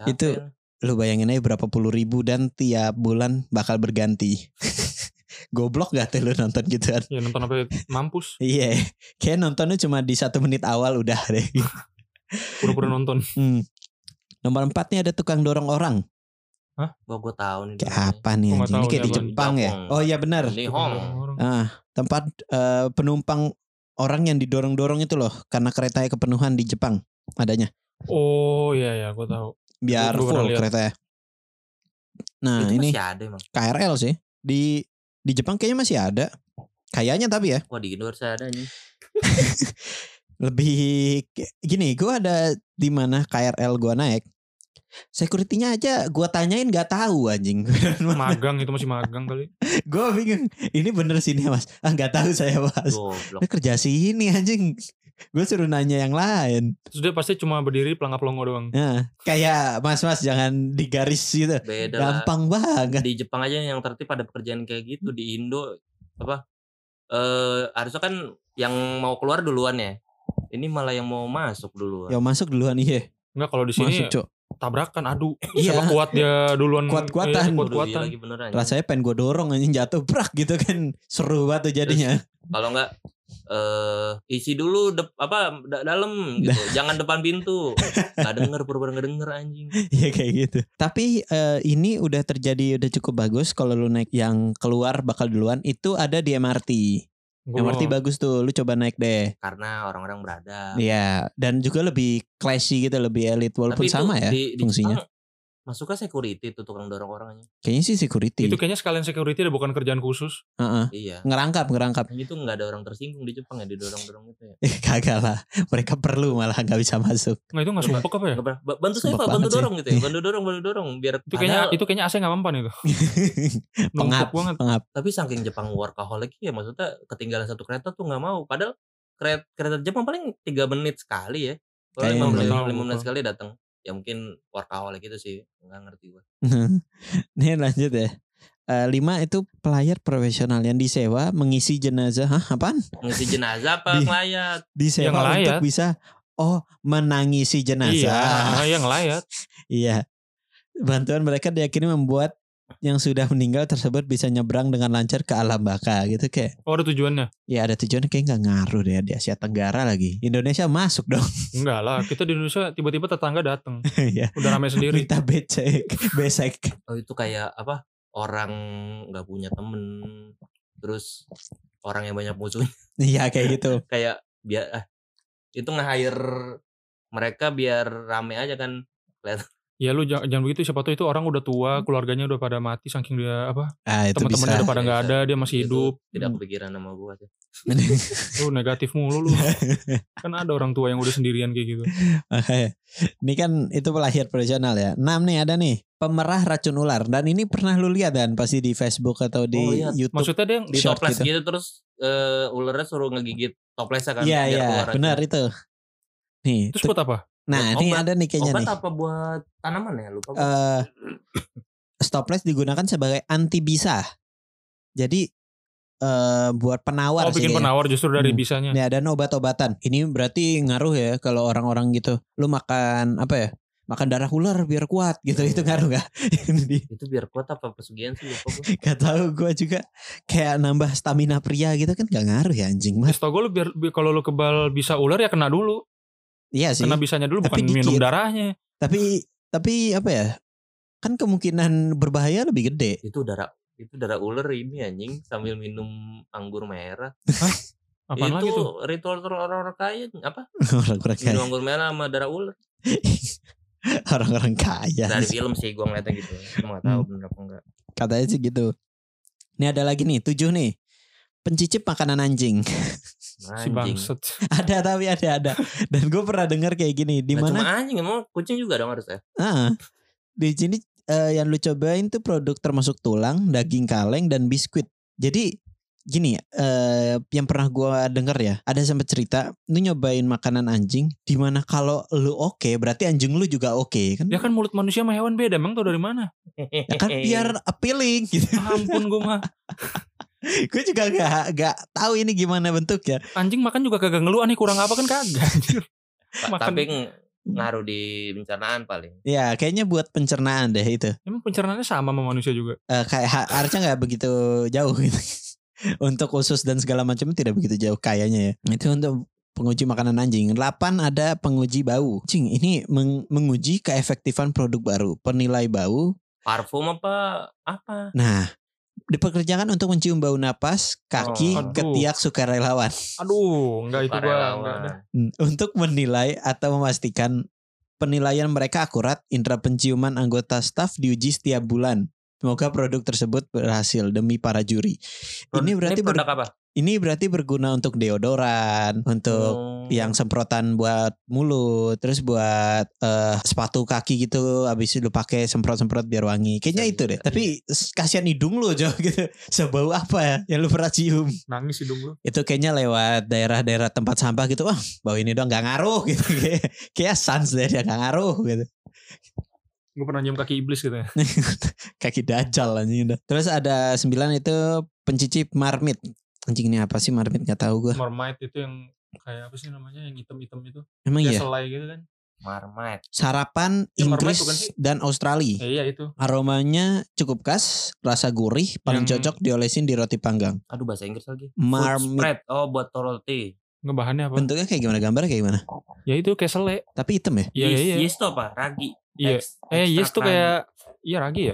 Speaker 2: Capek
Speaker 1: itu-
Speaker 2: lah.
Speaker 1: Lu bayangin aja berapa puluh ribu dan tiap bulan bakal berganti. Goblok gak tuh lu nonton gituan?
Speaker 3: Ya nonton apa ya? mampus,
Speaker 1: Iya, kayak nontonnya cuma di satu menit awal udah deh.
Speaker 3: pura-pura nonton.
Speaker 1: Hmm. Nomor empat nih ada tukang dorong orang.
Speaker 2: Gua gua tahu nih.
Speaker 1: Kayak
Speaker 2: namanya.
Speaker 1: apa nih
Speaker 3: Gua nggak
Speaker 1: anjing? Ini
Speaker 3: tahu
Speaker 1: kayak
Speaker 3: nih
Speaker 1: di
Speaker 3: apa nih.
Speaker 1: Jepang ya?
Speaker 2: Jepang.
Speaker 1: Oh iya benar.
Speaker 2: Ini Hong.
Speaker 3: Orang.
Speaker 1: Ah, tempat eh, penumpang orang yang didorong-dorong itu loh karena keretanya kepenuhan di Jepang adanya.
Speaker 3: Oh iya ya, gua tahu.
Speaker 1: Biar
Speaker 3: Gua pernah
Speaker 1: full
Speaker 3: lihat.
Speaker 1: keretanya. Nah,
Speaker 2: Itu
Speaker 1: ini
Speaker 2: masih ada emang.
Speaker 1: KRL sih. Di di Jepang kayaknya masih ada. Kayaknya tapi ya.
Speaker 2: Wah di Indo harus ada anjing.
Speaker 1: lebih gini gua ada di mana KRL gua naik security-nya aja gua tanyain nggak tahu anjing
Speaker 3: Magang itu masih magang kali.
Speaker 1: gua bingung ini bener sini mas ah nggak tahu saya mas
Speaker 2: Goblok.
Speaker 1: ini kerja sini anjing gue suruh nanya yang lain
Speaker 3: Terus dia pasti cuma berdiri pelangap-longo doang.
Speaker 1: nah, kayak mas mas jangan digaris gitu
Speaker 2: Beda lah.
Speaker 1: gampang kan? Hmm. banget
Speaker 2: Di Jepang aja yang tertib ada pekerjaan kayak gitu di Indo apa? Eh harusnya kan yang mau keluar duluan ya. Ini malah yang mau masuk duluan.
Speaker 1: ya masuk duluan iya
Speaker 3: Enggak kalau di sini
Speaker 1: masuk cok
Speaker 3: tabrakan adu.
Speaker 1: Iya.
Speaker 3: Siapa kuat dia duluan.
Speaker 1: Kuat-kuatan.
Speaker 2: Waduh, iya
Speaker 3: Iya, Kuat-kuatan.
Speaker 2: lagi beneran.
Speaker 1: rasanya pengen gue dorong anjing jatuh brak gitu kan seru banget tuh jadinya
Speaker 2: Kalau enggak eh isi dulu dep- apa da- dalam gitu. Jangan depan pintu. Gak denger pura-pura gak denger anjing.
Speaker 1: Iya kayak gitu. Tapi eh, ini udah terjadi udah cukup bagus kalau lu naik yang keluar bakal duluan itu ada di MRT.
Speaker 3: Gua
Speaker 1: MRT
Speaker 3: belum.
Speaker 1: bagus tuh, lu coba naik deh.
Speaker 2: Karena orang-orang berada.
Speaker 1: Iya, dan juga lebih classy gitu, lebih elit walaupun
Speaker 2: itu
Speaker 1: sama ya
Speaker 2: di- di
Speaker 1: fungsinya.
Speaker 2: Jepang, Masuknya security tuh tukang dorong orang anjing.
Speaker 1: Kayaknya sih security.
Speaker 3: Itu kayaknya sekalian security deh bukan kerjaan khusus.
Speaker 1: Heeh.
Speaker 2: Iya.
Speaker 1: Ngerangkap, ngerangkap.
Speaker 2: Anjing itu nggak ada orang tersinggung di Jepang ya didorong-dorong itu ya.
Speaker 1: Eh, Kagak lah. Mereka perlu malah nggak bisa masuk.
Speaker 3: Enggak itu enggak
Speaker 2: Enggak.
Speaker 3: sumpek apa ya?
Speaker 2: Nggak pernah, "Ba- Bantu saya
Speaker 1: Sumpah
Speaker 2: Pak, bantu
Speaker 1: banget sih.
Speaker 2: dorong gitu ya. Bantu dorong, bantu dorong biar
Speaker 3: Itu kayaknya
Speaker 2: Padahal-
Speaker 3: itu kayaknya AC nggak mempan itu.
Speaker 1: pengap,
Speaker 3: Numpuk banget.
Speaker 1: pengap.
Speaker 2: tapi saking Jepang workaholic ya maksudnya ketinggalan satu kereta tuh nggak mau padahal kereta kereta Jepang paling tiga menit sekali ya
Speaker 1: Kayaknya
Speaker 2: kalau
Speaker 1: nggak
Speaker 2: lima
Speaker 3: tahu
Speaker 2: menit
Speaker 3: gua.
Speaker 2: sekali datang ya mungkin workaholic itu sih nggak ngerti gua
Speaker 1: Nih lanjut ya. Eh, lima itu pelayar profesional yang disewa mengisi jenazah. Hah, apaan?
Speaker 2: ngisi jenazah apa
Speaker 1: Di-
Speaker 2: ngelayat
Speaker 1: disewa
Speaker 3: Yang
Speaker 1: untuk
Speaker 3: layak.
Speaker 1: bisa oh menangisi jenazah.
Speaker 3: Iya, yang ngelayat.
Speaker 1: Iya. Bantuan mereka diyakini membuat yang sudah meninggal tersebut bisa nyebrang dengan lancar ke alam baka gitu kayak.
Speaker 3: Oh ada tujuannya?
Speaker 1: Ya ada tujuan kayak nggak ngaruh deh di Asia Tenggara lagi. Indonesia masuk dong.
Speaker 3: Enggak lah, kita di Indonesia tiba-tiba tetangga datang,
Speaker 1: ya.
Speaker 3: udah rame sendiri.
Speaker 1: Minta becek, besek.
Speaker 2: oh itu kayak apa orang nggak punya temen terus orang yang banyak musuh
Speaker 1: Iya kayak gitu.
Speaker 2: kayak biar ah, itu nge-hire mereka biar rame aja kan
Speaker 3: Ya lu jangan, jangan begitu, siapa tahu itu orang udah tua,
Speaker 1: Hmm.
Speaker 3: keluarganya udah pada mati saking dia apa?
Speaker 1: Ah itu
Speaker 3: Teman-temannya
Speaker 1: bisa.
Speaker 3: udah pada nggak
Speaker 2: Bisa.
Speaker 3: ada, dia masih
Speaker 2: Itu
Speaker 3: hidup. hmm.
Speaker 2: tidak kepikiran sama gua sih
Speaker 3: Lu negatif mulu lu. kan ada orang tua yang udah sendirian kayak gitu.
Speaker 1: Makanya. ini kan itu pelahir profesional ya. Enam nih ada nih pemerah racun ular dan ini pernah lu lihat dan pasti di Facebook atau di
Speaker 2: Oh, iya.
Speaker 1: YouTube.
Speaker 3: Maksudnya dia
Speaker 2: di
Speaker 1: Short
Speaker 2: toples
Speaker 1: gitu.
Speaker 2: gitu, terus eh, ulernya suruh ngegigit toplesnya kan
Speaker 1: Iya
Speaker 2: biar
Speaker 1: iya
Speaker 2: keluar racun.
Speaker 1: benar itu. Nih,
Speaker 3: terus
Speaker 1: tuh-
Speaker 3: buat apa?
Speaker 1: nah
Speaker 2: buat
Speaker 1: ini
Speaker 2: obat.
Speaker 1: ada nih kayaknya
Speaker 2: obat
Speaker 1: nih.
Speaker 2: apa buat tanaman ya lupa gua.
Speaker 1: Eh, Stopless digunakan sebagai anti bisa. Jadi eh buat penawar
Speaker 3: oh
Speaker 1: sih
Speaker 3: bikin
Speaker 1: kayaknya.
Speaker 3: penawar justru dari
Speaker 1: Hmm.
Speaker 3: bisanya
Speaker 1: Nih ada obat-obatan. Ini berarti ngaruh ya kalau orang-orang gitu. Lu makan apa ya? Makan darah ular biar kuat gitu.
Speaker 2: Iya,
Speaker 1: Itu ngaruh gak? Ini
Speaker 2: itu biar kuat apa pesugihan sih lupa gua.
Speaker 1: gak tahu gue juga kayak nambah stamina pria gitu kan gak ngaruh ya anjing mas.
Speaker 3: Setahu gue lu biar bi- kalau lu kebal bisa ular ya kena dulu,
Speaker 1: Iya sih.
Speaker 3: kena bisanya dulu
Speaker 1: Tapi
Speaker 3: bukan minum
Speaker 1: dikit.
Speaker 3: darahnya.
Speaker 1: Tapi tapi apa ya? Kan kemungkinan berbahaya lebih gede.
Speaker 2: itu darah itu darah ular ini anjing sambil minum anggur merah
Speaker 3: Apaan
Speaker 2: itu
Speaker 3: lagi tuh?
Speaker 2: ritual orang-orang kaya apa
Speaker 1: Orang-orang kaya.
Speaker 2: minum anggur merah sama darah ular
Speaker 1: Orang-orang kaya.
Speaker 2: dari film sih gua ngeliatnya gitu Gua nggak tahu bener apa enggak
Speaker 1: Katanya sih gitu. Ini ada lagi nih tujuh nih. Pencicip makanan anjing.
Speaker 3: Si
Speaker 2: Nah, anjing
Speaker 3: bangset.
Speaker 1: ada tapi ada ada. Dan gue pernah dengar kayak gini. Di
Speaker 2: Nggak
Speaker 1: mana?
Speaker 2: cuma anjing emang kucing juga dong harusnya
Speaker 1: Ah, di sini eh, yang lu cobain tuh produk termasuk tulang, daging kaleng dan biskuit. Jadi gini eh yang pernah gua denger ya, ada sempat cerita lu nyobain makanan anjing di mana kalau lu oke berarti anjing lu juga oke kan?
Speaker 3: Ya kan Iya. mulut manusia sama hewan beda, emang tau dari mana? Ah,
Speaker 1: Ya kan biar appealing gitu.
Speaker 3: Ampun gue mah.
Speaker 1: gue juga gak, gak tahu ini gimana bentuknya.
Speaker 3: Anjing makan juga kagak ngeluh aneh kurang apa kan kagak. anjir.
Speaker 2: Pa-
Speaker 3: Makan-
Speaker 2: tapi ng- ngaruh di pencernaan paling
Speaker 1: Ya kayaknya buat pencernaan deh itu.
Speaker 3: Emang pencernaannya sama sama manusia juga.
Speaker 1: Eh, kayak ha- harusnya nggak begitu jauh gitu. untuk usus dan segala macam tidak begitu jauh kayaknya ya. Itu untuk penguji makanan anjing. 8 ada penguji bau. Cing, ini meng- menguji keefektifan produk baru, penilai bau.
Speaker 2: parfum apa apa
Speaker 1: Nah, dipekerjakan untuk mencium bau napas, kaki,
Speaker 2: Oh, aduh.
Speaker 1: ketiak sukarelawan.
Speaker 3: Aduh, enggak itu gua. enggak ada.
Speaker 2: Sukarelawan.
Speaker 1: Hmm, Untuk menilai atau memastikan penilaian mereka akurat, indera penciuman anggota staf diuji setiap bulan. Semoga produk tersebut berhasil demi para juri.
Speaker 2: Pro-
Speaker 1: Ini berarti ber-
Speaker 2: produk apa
Speaker 1: Ini berarti berguna untuk deodoran, untuk
Speaker 2: Hmm.
Speaker 1: yang semprotan buat mulut, terus buat eh, sepatu kaki gitu habis itu lu pakai semprot-semprot biar wangi. Kayaknya
Speaker 2: Bisa
Speaker 1: itu deh.
Speaker 2: juga.
Speaker 1: Tapi s- kasihan hidung lu Jo gitu. Sebau apa ya, yang lu pernah cium?
Speaker 3: Nangis hidung lu.
Speaker 1: Itu kayaknya lewat daerah-daerah tempat sampah gitu. Wah, bau ini doang gak ngaruh gitu. Kayak- Kayak sans deh dia gak ngaruh gitu.
Speaker 3: Gue pernah nyium kaki iblis gitu ya.
Speaker 1: Kaki dajal anjing udah. Terus ada sembilan itu pencicip marmit. Anjing ini apa sih marmit gak tahu gua.
Speaker 3: Marmite itu yang kayak apa sih namanya yang hitam-hitam itu.
Speaker 1: Emang
Speaker 3: Kayak
Speaker 1: iya.
Speaker 3: selai gitu kan.
Speaker 2: marmite
Speaker 1: sarapan
Speaker 3: Ya, marmite
Speaker 1: Inggris
Speaker 3: bukan sih?
Speaker 1: dan
Speaker 3: Ya,
Speaker 1: Australia.
Speaker 3: iya itu.
Speaker 1: Aromanya cukup khas, rasa gurih, paling
Speaker 3: Yang-
Speaker 1: cocok diolesin di roti panggang.
Speaker 2: aduh bahasa Inggris lagi Food
Speaker 1: Marmite.
Speaker 2: spread oh buat roti
Speaker 3: Ngebahannya apa?
Speaker 1: Bentuknya kayak gimana? Gambarnya kayak gimana?
Speaker 3: Ya itu kayak selai.
Speaker 1: Tapi hitam ya?
Speaker 3: Iya iya
Speaker 2: yeast,
Speaker 3: iya.
Speaker 2: yeast tuh apa ragi
Speaker 3: Iya.
Speaker 2: Ex-
Speaker 3: Eh
Speaker 2: ekstrak
Speaker 3: yes
Speaker 1: kan.
Speaker 3: tuh kayak iya ragi ya.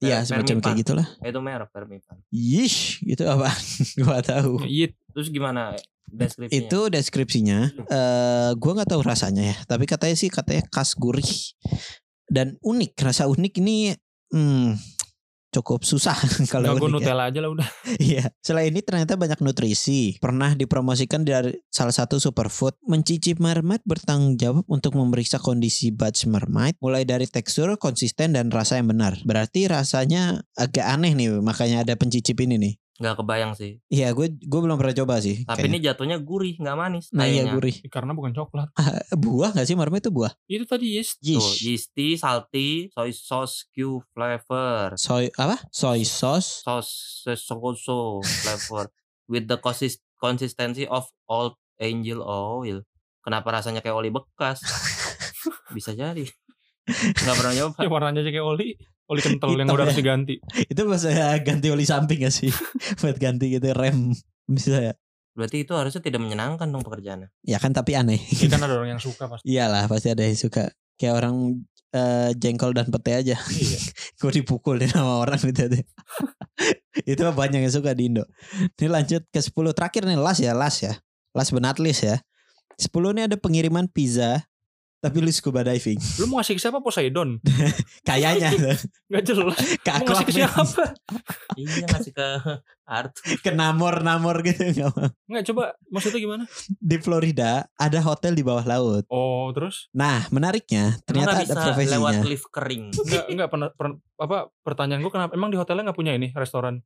Speaker 1: Iya,
Speaker 2: Permipan.
Speaker 1: semacam kayak gitu. gitulah.
Speaker 2: ragi. itu merek permipan
Speaker 1: Yish, itu apa? gua tahu.
Speaker 3: Iya.
Speaker 2: terus gimana eh, deskripsinya
Speaker 1: Itu deskripsinya. Eh, gua nggak tahu rasanya ya, tapi katanya sih katanya khas gurih dan unik. Rasa unik ini hmm, cukup susah kalau
Speaker 3: Enggak gue
Speaker 1: unik ya.
Speaker 3: Nutella aja lah udah.
Speaker 1: Iya. Selain ini ternyata banyak nutrisi. Pernah dipromosikan dari salah satu superfood. Mencicip marmite bertanggung jawab untuk memeriksa kondisi batch marmite. Mulai dari tekstur, konsisten, dan rasa yang benar. Berarti rasanya agak aneh nih. Makanya ada pencicip ini nih.
Speaker 2: nggak kebayang sih
Speaker 1: Iya gue gue belum pernah coba sih.
Speaker 2: tapi ini jatuhnya gurih nggak manis
Speaker 1: Nah iya
Speaker 2: kayaknya.
Speaker 1: gurih.
Speaker 3: Karena bukan coklat.
Speaker 1: Eh, Buah gak sih marmite itu buah?
Speaker 3: Itu tadi yes.
Speaker 2: Tuh, iya.
Speaker 1: Yeesh.
Speaker 2: yeasty, salty, soy sauce, Q flavor,
Speaker 1: Soy apa? Soy sauce.
Speaker 2: sauce sokoso flavor with the consist consistency of old angel oil. Kenapa rasanya kayak oli bekas? Bisa jadi. Nggak pernah nyoba.
Speaker 3: Ya warnanya aja kayak oli. Oli kental yang
Speaker 1: Hitam
Speaker 3: udah
Speaker 1: ya.
Speaker 3: harus diganti.
Speaker 1: Itu bahasa ganti oli samping gak sih? Buat ganti gitu rem. Bisa ya?
Speaker 2: Berarti itu harusnya tidak menyenangkan dong pekerjaannya.
Speaker 1: Ya kan tapi aneh.
Speaker 3: Ya kan ada orang yang suka pasti.
Speaker 1: Iyalah pasti ada yang suka kayak orang eh, jengkol dan pete aja.
Speaker 3: Iya.
Speaker 1: Gue dipukulin sama orang gitu deh. Itu mah banyak yang suka di Indo. Ini lanjut ke 10 terakhir nih last ya, last ya. Last but not least ya. 10 ini ada pengiriman pizza tapi lu scuba diving.
Speaker 3: Lu mau ngasih ke siapa Poseidon?
Speaker 1: Kayaknya tuh.
Speaker 3: Gak jelas.
Speaker 1: ke
Speaker 3: Mau ngasih ke
Speaker 1: aquaman,
Speaker 3: siapa?
Speaker 2: Iya ngasih ke Arthur.
Speaker 1: ke namor-namor gitu nggak mau.
Speaker 3: Enggak coba maksudnya gimana?
Speaker 1: Di Florida ada hotel di bawah laut.
Speaker 3: Oh, terus
Speaker 1: Nah, menariknya ternyata
Speaker 2: Kenapa
Speaker 1: ada
Speaker 2: bisa lewat
Speaker 1: profesinya.
Speaker 2: lift kering.
Speaker 3: enggak enggak pernah per- apa pertanyaan gue kenapa emang di hotelnya nggak punya ini restoran?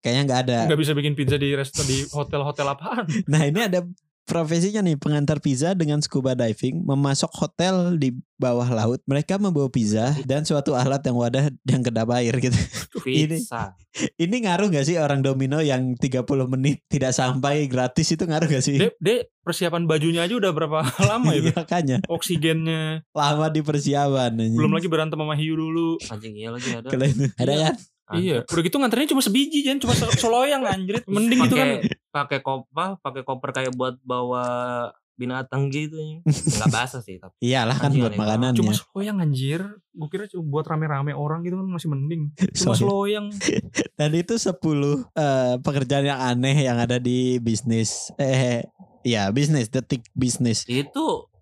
Speaker 1: Kayaknya nggak ada.
Speaker 3: Enggak bisa bikin pizza di resto di hotel-hotel apaan?
Speaker 1: Nah, ini ada profesinya nih pengantar pizza dengan scuba diving memasok hotel di bawah laut. Mereka membawa pizza dan suatu alat yang wadah yang kedap air gitu. Ini-
Speaker 2: Pizza.
Speaker 1: Ini ngaruh gak sih orang domino yang 30 menit tidak sampai gratis itu ngaruh gak sih?
Speaker 3: Dek, dek, persiapan bajunya aja udah berapa lama
Speaker 1: Iya.
Speaker 3: ya? Beb?
Speaker 1: Makanya
Speaker 3: Oksigennya,
Speaker 1: lama di persiapan. anjing.
Speaker 3: belum lagi berantem sama hiu dulu.
Speaker 2: Anjing iya lagi ada.
Speaker 1: Kalau itu- Ada
Speaker 3: Iya.
Speaker 1: ya?
Speaker 2: Anjing.
Speaker 3: Iya, udah gitu nganternya cuma sebiji Jan, cuma se- seloyang anjrit. Mending itu kan
Speaker 2: Pakai- pakai koper, pakai koper kayak buat bawa binatang gitu. ya. Enggak basah sih tapi.
Speaker 1: Iyalah kan
Speaker 2: Anjing,
Speaker 1: buat
Speaker 2: aneh banget.
Speaker 1: makanan
Speaker 3: cuma
Speaker 1: ya.
Speaker 3: seloyang anjir. Gue kira cuma buat rame-rame orang gitu kan masih mending. Cuma
Speaker 1: Soalnya-
Speaker 3: seloyang.
Speaker 1: Dan itu 10 eh, pekerjaan yang aneh yang ada di bisnis. Eh, ya bisnis, detik bisnis.
Speaker 2: Itu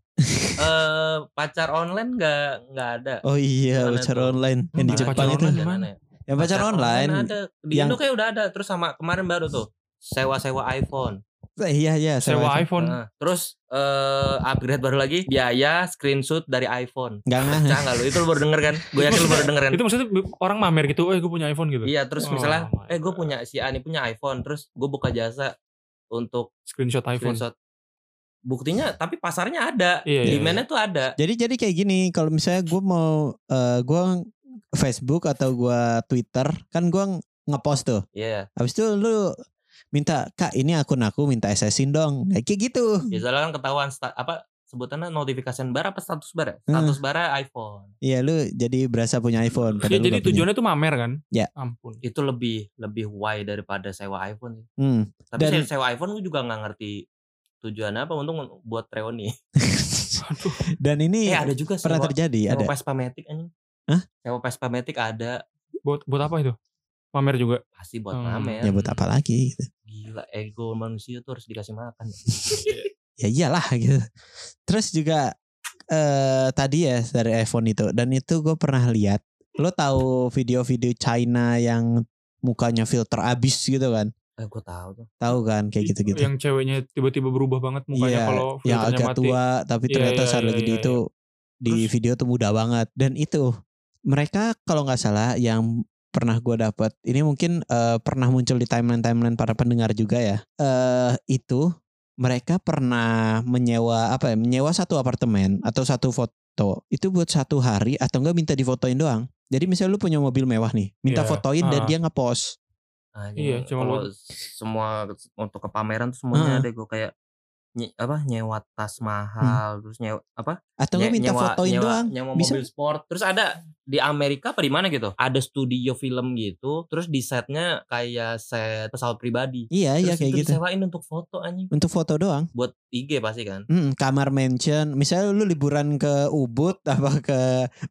Speaker 2: eh pacar online nggak nggak ada.
Speaker 1: Oh iya,
Speaker 2: Mana
Speaker 1: pacar
Speaker 2: tuh?
Speaker 1: online yang di
Speaker 2: Mana
Speaker 1: Jepang
Speaker 2: pacar
Speaker 1: itu.
Speaker 2: online
Speaker 3: itu.
Speaker 2: dan aneh.
Speaker 1: Yang pacar online.
Speaker 2: ada. Di
Speaker 1: yang-
Speaker 2: Indo kayak udah ada. Terus sama kemarin baru tuh sewa-sewa iPhone.
Speaker 1: Eh, iya iya,
Speaker 3: Sewa iPhone.
Speaker 2: Nah, terus eh upgrade baru lagi biaya screenshot dari iPhone.
Speaker 1: Enggak ngah.
Speaker 2: Cah nggak lu itu lu baru denger kan? Gue yakin lu baru denger kan?
Speaker 3: Itu maksudnya orang mamer gitu, eh gue punya iPhone gitu.
Speaker 2: Iya terus
Speaker 3: Oh
Speaker 2: misalnya
Speaker 3: my
Speaker 2: eh gue
Speaker 3: God.
Speaker 2: punya si Ani punya iPhone terus gue buka jasa untuk
Speaker 3: Screenshot iPhone.
Speaker 2: screenshot buktinya tapi pasarnya ada
Speaker 3: Iya, iya,
Speaker 2: demandnya tuh ada
Speaker 1: Jadi jadi kayak gini, kalau misalnya gue mau eh, gua Facebook atau gua Twitter, kan gua ngepost tuh.
Speaker 2: Iya
Speaker 1: Habis itu lu minta kak ini akun aku minta SS-in dong Nah, kayak gitu
Speaker 2: misalnya kan ketahuan sta- apa sebutannya notification bar apa status bar ya?
Speaker 1: Hmm.
Speaker 2: status bar iPhone
Speaker 1: Iya lu jadi berasa punya iPhone
Speaker 3: Ya,
Speaker 1: padahal lu
Speaker 3: jadi
Speaker 1: nggak punya.
Speaker 3: tujuannya tuh mamer kan?
Speaker 1: Ya.
Speaker 3: Ampun.
Speaker 2: itu lebih lebih why daripada sewa iPhone sih.
Speaker 1: Hmm.
Speaker 2: tapi
Speaker 1: Dan-
Speaker 2: se- sewa iPhone gue juga nggak ngerti tujuannya apa untung buat reuni
Speaker 1: Dan ini
Speaker 2: eh ada juga
Speaker 1: Iya, pernah
Speaker 2: sewa,
Speaker 1: terjadi
Speaker 2: sewa
Speaker 1: ada
Speaker 2: Vespa Matic anjing
Speaker 1: Hah?
Speaker 2: sewa Vespa Matic ada
Speaker 3: Buat buat apa itu? Mamer juga.
Speaker 2: pasti buat
Speaker 3: Hmm.
Speaker 2: pamer
Speaker 1: ya buat apa lagi gitu.
Speaker 2: gila ego manusia tuh harus dikasih makan
Speaker 1: ya iyalah gitu terus juga eh tadi ya dari iPhone itu dan itu gue pernah lihat lo tahu video-video China yang mukanya filter abis gitu kan
Speaker 2: eh gue tahu tuh
Speaker 1: tahu kan kayak gitu-gitu
Speaker 3: Yang ceweknya tiba-tiba berubah banget mukanya
Speaker 1: Iya,
Speaker 3: kalau
Speaker 1: yang
Speaker 3: filternya
Speaker 1: agak
Speaker 3: mati.
Speaker 1: tua tapi
Speaker 3: Iya,
Speaker 1: ternyata
Speaker 3: iya,
Speaker 1: saat
Speaker 3: iya,
Speaker 1: lagi di
Speaker 3: iya,
Speaker 1: itu di
Speaker 3: Terus-
Speaker 1: video tuh muda banget dan itu mereka kalau nggak salah yang pernah gue dapat ini mungkin eh, pernah muncul di timeline timeline para pendengar juga ya eh itu mereka pernah menyewa apa ya menyewa satu apartemen atau satu foto itu buat satu hari atau enggak minta difotoin doang jadi misalnya lu punya mobil mewah nih minta
Speaker 3: Iya,
Speaker 1: fotoin dan
Speaker 3: ah.
Speaker 1: dia ngepost
Speaker 2: Anjing,
Speaker 3: Iya, cuma
Speaker 2: kalau
Speaker 3: buat-
Speaker 2: semua untuk ke pameran tuh
Speaker 1: Heeh.
Speaker 2: semuanya deh gue kayak nye- apa nyewa tas
Speaker 1: Hmm.
Speaker 2: mahal terus nyewa apa
Speaker 1: atau enggak
Speaker 2: nye-
Speaker 1: minta
Speaker 2: nyewa,
Speaker 1: fotoin
Speaker 2: nyewa,
Speaker 1: doang
Speaker 2: nyewa
Speaker 1: Bisa.
Speaker 2: mobil sport terus ada di Amerika apa di mana gitu ada studio film gitu terus di setnya kayak set pesawat pribadi
Speaker 1: iya iya
Speaker 2: terus
Speaker 1: kayak
Speaker 2: itu
Speaker 1: gitu
Speaker 2: disewain untuk foto anjing
Speaker 1: untuk foto doang
Speaker 2: buat IG pasti kan
Speaker 1: Mm, kamar mansion misalnya lu liburan ke Ubud apa ke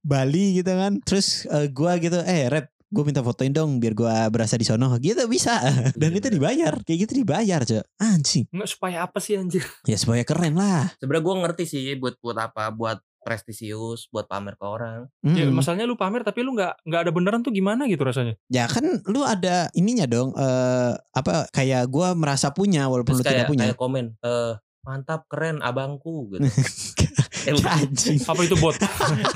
Speaker 1: Bali gitu kan terus eh, gua gitu eh rep gue minta fotoin dong biar gua berasa di sono gitu bisa
Speaker 2: Iya,
Speaker 1: dan itu dibayar kayak gitu dibayar cok anjing
Speaker 3: Nggak supaya apa sih anjir?
Speaker 1: ya supaya keren lah
Speaker 2: sebenarnya gue ngerti sih buat buat apa buat prestisius buat pamer ke orang
Speaker 3: Ya,
Speaker 1: Mm.
Speaker 3: masalahnya lu pamer tapi lu nggak nggak ada beneran tuh gimana gitu rasanya?
Speaker 1: ya kan lu ada ininya dong eh apa kayak gua merasa punya walaupun
Speaker 2: terus
Speaker 1: lu tidak
Speaker 2: kayak
Speaker 1: punya
Speaker 2: kayak komen eh mantap keren abangku gitu eh, bukan.
Speaker 1: anjing
Speaker 3: Apa itu bot?